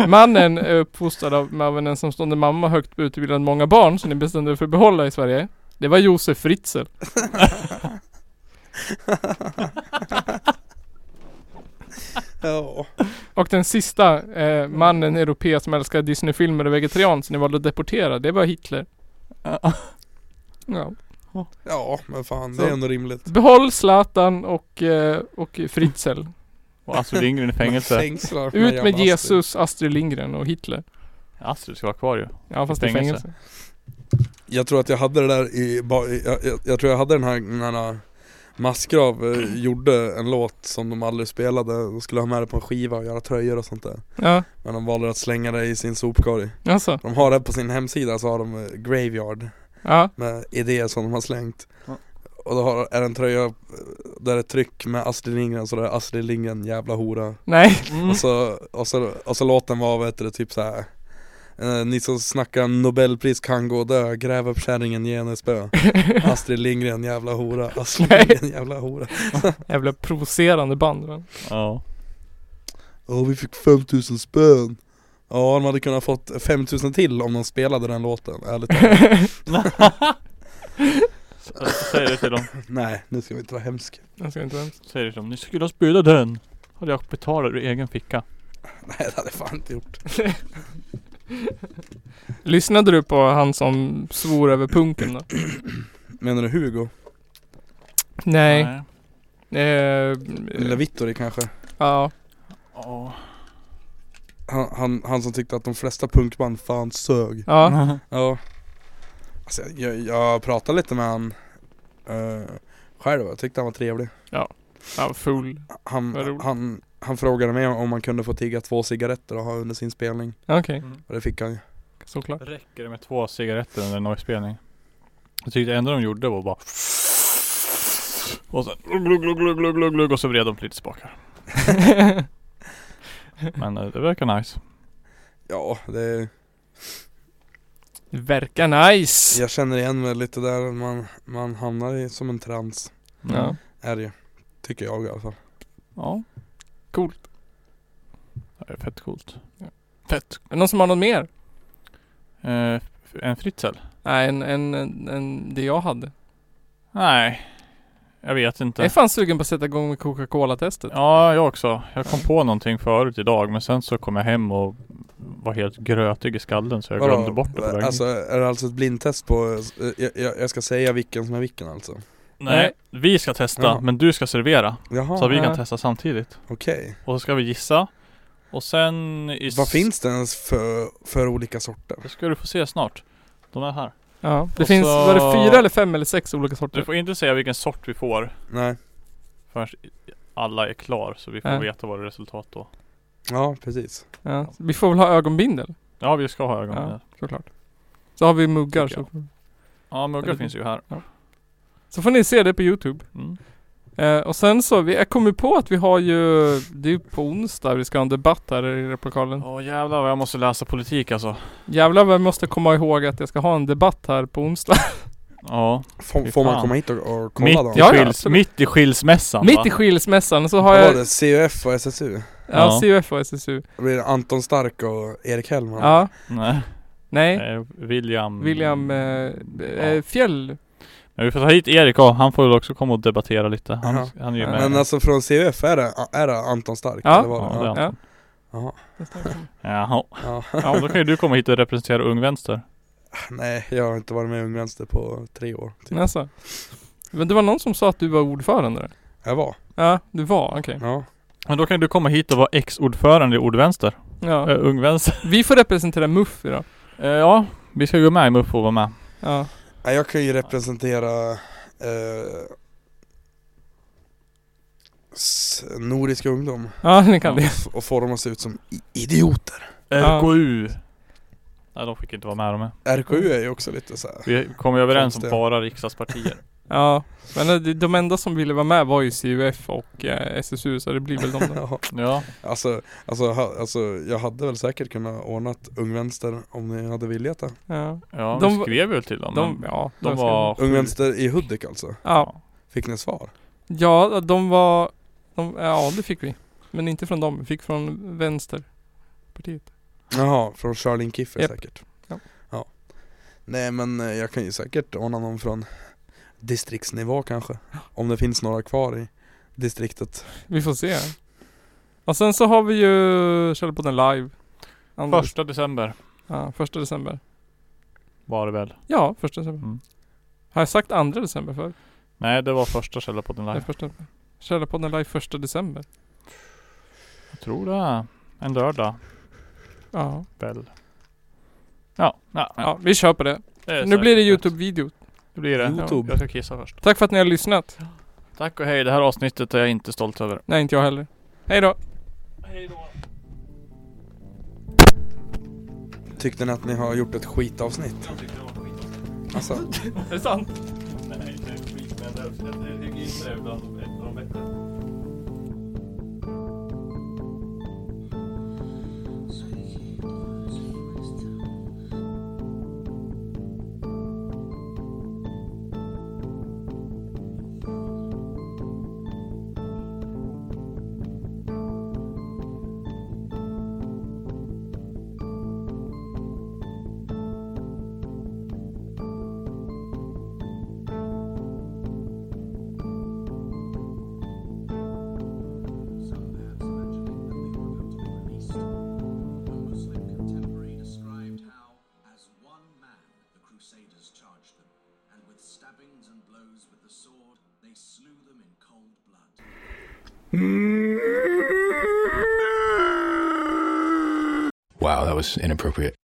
Mannen är uppfostrad av, med- av en ensamstående mamma högt utbildad många barn som ni bestämde er för att behålla i Sverige. Det var Josef Fritzl. jag. Och den sista eh, mannen, europé som älskar Disney-filmer och vegetarian som ni valde att deportera, det var Hitler. Ja. Ja. Ja, men fan det är Så. ändå rimligt. Behåll Zlatan och, eh, och Fritzl. Och Astrid Lindgren i fängelse. Fängslar för Ut jävla med Astrid. Jesus, Astrid Lindgren och Hitler. Astrid ska vara kvar ju. Ja fast i Fängelse. fängelse. Jag tror att jag hade det där i, ba- i- jag, jag, jag tror jag hade den här, den här Massgrav eh, gjorde en låt som de aldrig spelade, de skulle ha med det på en skiva och göra tröjor och sånt där Ja, Men de valde att slänga det i sin sopkorg alltså. De har det på sin hemsida så har de eh, Graveyard Ja. med idéer som de har slängt Ja. Och då har, är det en tröja eh, där det är tryck med Astrid Lindgren så det är Astrid Lindgren jävla hora Nej. Mm. och, så, och, så, och så låten var vet du, typ så här. Eh, ni som snackar nobelpris kan gå och dö, gräv upp kärringen, ge henne spö Astrid Lindgren jävla hora, Astrid Nej. Lindgren jävla hora Jävla provocerande band. *laughs* Men. *laughs* Ja. Ja vi fick 5000 spön Ja de hade kunnat fått 5000 till om de spelade den låten, ärligt *laughs* talat. Säg det till dem. Nej nu ska vi inte vara hemska Jag ska inte ens. Säg det till dem. Ni skulle ha spelat den. Hade jag betalat ur egen ficka. Nej det hade jag fan inte gjort Lyssnade du på han som svor över punken då? Menar du Hugo? Nej. Eh, Eller Vittori kanske? ja. Ja. Han, han, han som tyckte att de flesta punkband fan sög Ja. Ja Alltså jag- jag, jag pratade lite med han eh, Själv, jag tyckte han var trevlig Han var full. Vad Han, roligt. han, han frågade mig om man kunde få tigga två cigaretter och ha under sin spelning Okej. Och det fick han ju Såklart. Mm. Räcker det med två cigaretter under en noise-spelning? Jag tyckte det enda de gjorde var bara och sen glugg, glugg, glugg, glugg, glugg, glugg, och så vred de lite *laughs* tillbaka. Men eh, det verkar nice. Ja, det, Verkar nice. jag känner igen mig lite där man, man hamnar i som en trans Mm. Ja. Är det ju Tycker jag i alla fall Ja. Coolt. Det är fett coolt. Ja. Fett. Är det någon som har något mer? Eh, f- en Fritzl? Nej, en, en, en, en det jag hade. Nej. Jag vet Jag är inte. fan sugen på att sätta igång med Coca-Cola-testet. Ja, jag också. Jag kom på någonting förut idag men sen så kom jag hem och var helt grötig i skallen så jag Vadå? glömde bort det på vägen. Alltså är det alltså ett blindtest på, eh, jag, jag, jag ska säga vilken som är vilken alltså Nej, vi ska testa Jaha. men du ska servera. Jaha, Så vi Ja. kan testa samtidigt. okej Och så ska vi gissa. Och sen... I s- Vad finns det ens för, för olika sorter? Det ska du få se snart. De är här. Ja. Det Och finns, så- var det fyra eller fem eller sex olika Du sorter? får inte säga vilken sort vi får Nej förrän alla är klar. Så vi får Nej. veta vad det är resultat då. Ja, precis Ja. Vi får väl ha ögonbindel? Ja, vi ska ha ögonen. Ja. Ja, Såklart. Så har vi muggar Tycker så. ja muggar Eller- finns ju här. Så får ni se det på youtube. Mm. Eh, och sen så, vi, jag kommer på att vi har ju, det är ju på onsdag vi ska ha en debatt här i replokalen. Åh jävlar vad jag måste läsa politik alltså. Jävlar vad jag måste komma ihåg att jag ska ha en debatt här på onsdag. Ja. Får, Fy får man fan. komma hit och, och kolla Mitt då? i, Ja, ja, skils, absolut. mitt i skilsmässan va? Mitt i skilsmässan så har Vad var jag, det? CUF och SSU? ja, Ja. CUF och SSU. Det blir Anton Stark och Erik Hellman? Ja, Nej. nej. Eh, William... William eh, eh, Fjäll. Men vi får ta hit Erik då. Han får väl också komma och debattera lite. Han, Jaha. han är ju Ja. med. Men alltså från CUF, är det, är det Anton Stark? Ja. Eller var ja, det det? är Ja, han. Ja. Jaha. Jaha. ja. *laughs* Ja, då kan ju du komma hit och representera Ung Vänster. Nej, jag har inte varit med i Ung Vänster på tre år typ. Alltså. Men det var någon som sa att du var ordförande där. Jag var, Ja, du var, okej. ja Men då kan du komma hit och vara ex-ordförande i Ordvänster. Ja. Äh, ung Vänster. Vi får representera MUF idag. Eh, ja, vi ska gå med i MUF och vara med. Ja. Nej, Jag kan ju representera eh, s- Nordisk ungdom Ja, ni kan det. och få dem att se ut som i- idioter Ja. RKU. Eh, Nej, de fick inte vara med de är. RKU är ju också lite så här. Vi kom ju överens om Konstigt. bara riksdagspartier. Ja, men eh, de- de enda som ville vara med var ju CUF och eh, SSU så det blir väl de där. *laughs* *laughs* Ja. *laughs* Ja, Alltså, alltså, ha, alltså jag hade väl säkert kunnat ordnat Ung Vänster om ni hade viljat det Ja, ja De vi var- skrev väl till dem. de, men ja, de ska- var Ung sjukt- Vänster i Hudik alltså? Ja, Fick ni svar? ja de var, de, ja det fick vi. Men inte från dem, vi fick från vänsterpartiet. Jaha, *laughs* från Charlene Kiffer Japp. säkert Ja. ja Nej men eh, jag kan ju säkert ordna någon från distriktsnivå kanske Om det finns några kvar i distriktet Vi får se. Och sen så har vi ju Källarpodden live. Andra- Första december Ja, första december. var det väl? Ja, första december. Mm. Har jag sagt andra december för? Nej, det var första Källarpodden Nej, live. första. Källarpodden live första december. Jag tror det. En lördag Ja, väl. Ja, ja, ja. ja vi kör på det. det är Nu blir det säkert Youtube-video. Det blir det. YouTube. Jag ska kissa först. Tack för att ni har lyssnat. Tack och hej. Det här avsnittet är jag inte stolt över. Nej, inte jag heller. Hej då. Tyckte ni att ni har gjort ett skitavsnitt? Alltså Är det sant? Nej, inte skit, men jag tycker inte det är bland ett av de bättre. Muslim contemporary described how, as one man, the Crusaders charged them, and with stabbings and blows with the sword, they slew them in cold blood. Wow, that was inappropriate.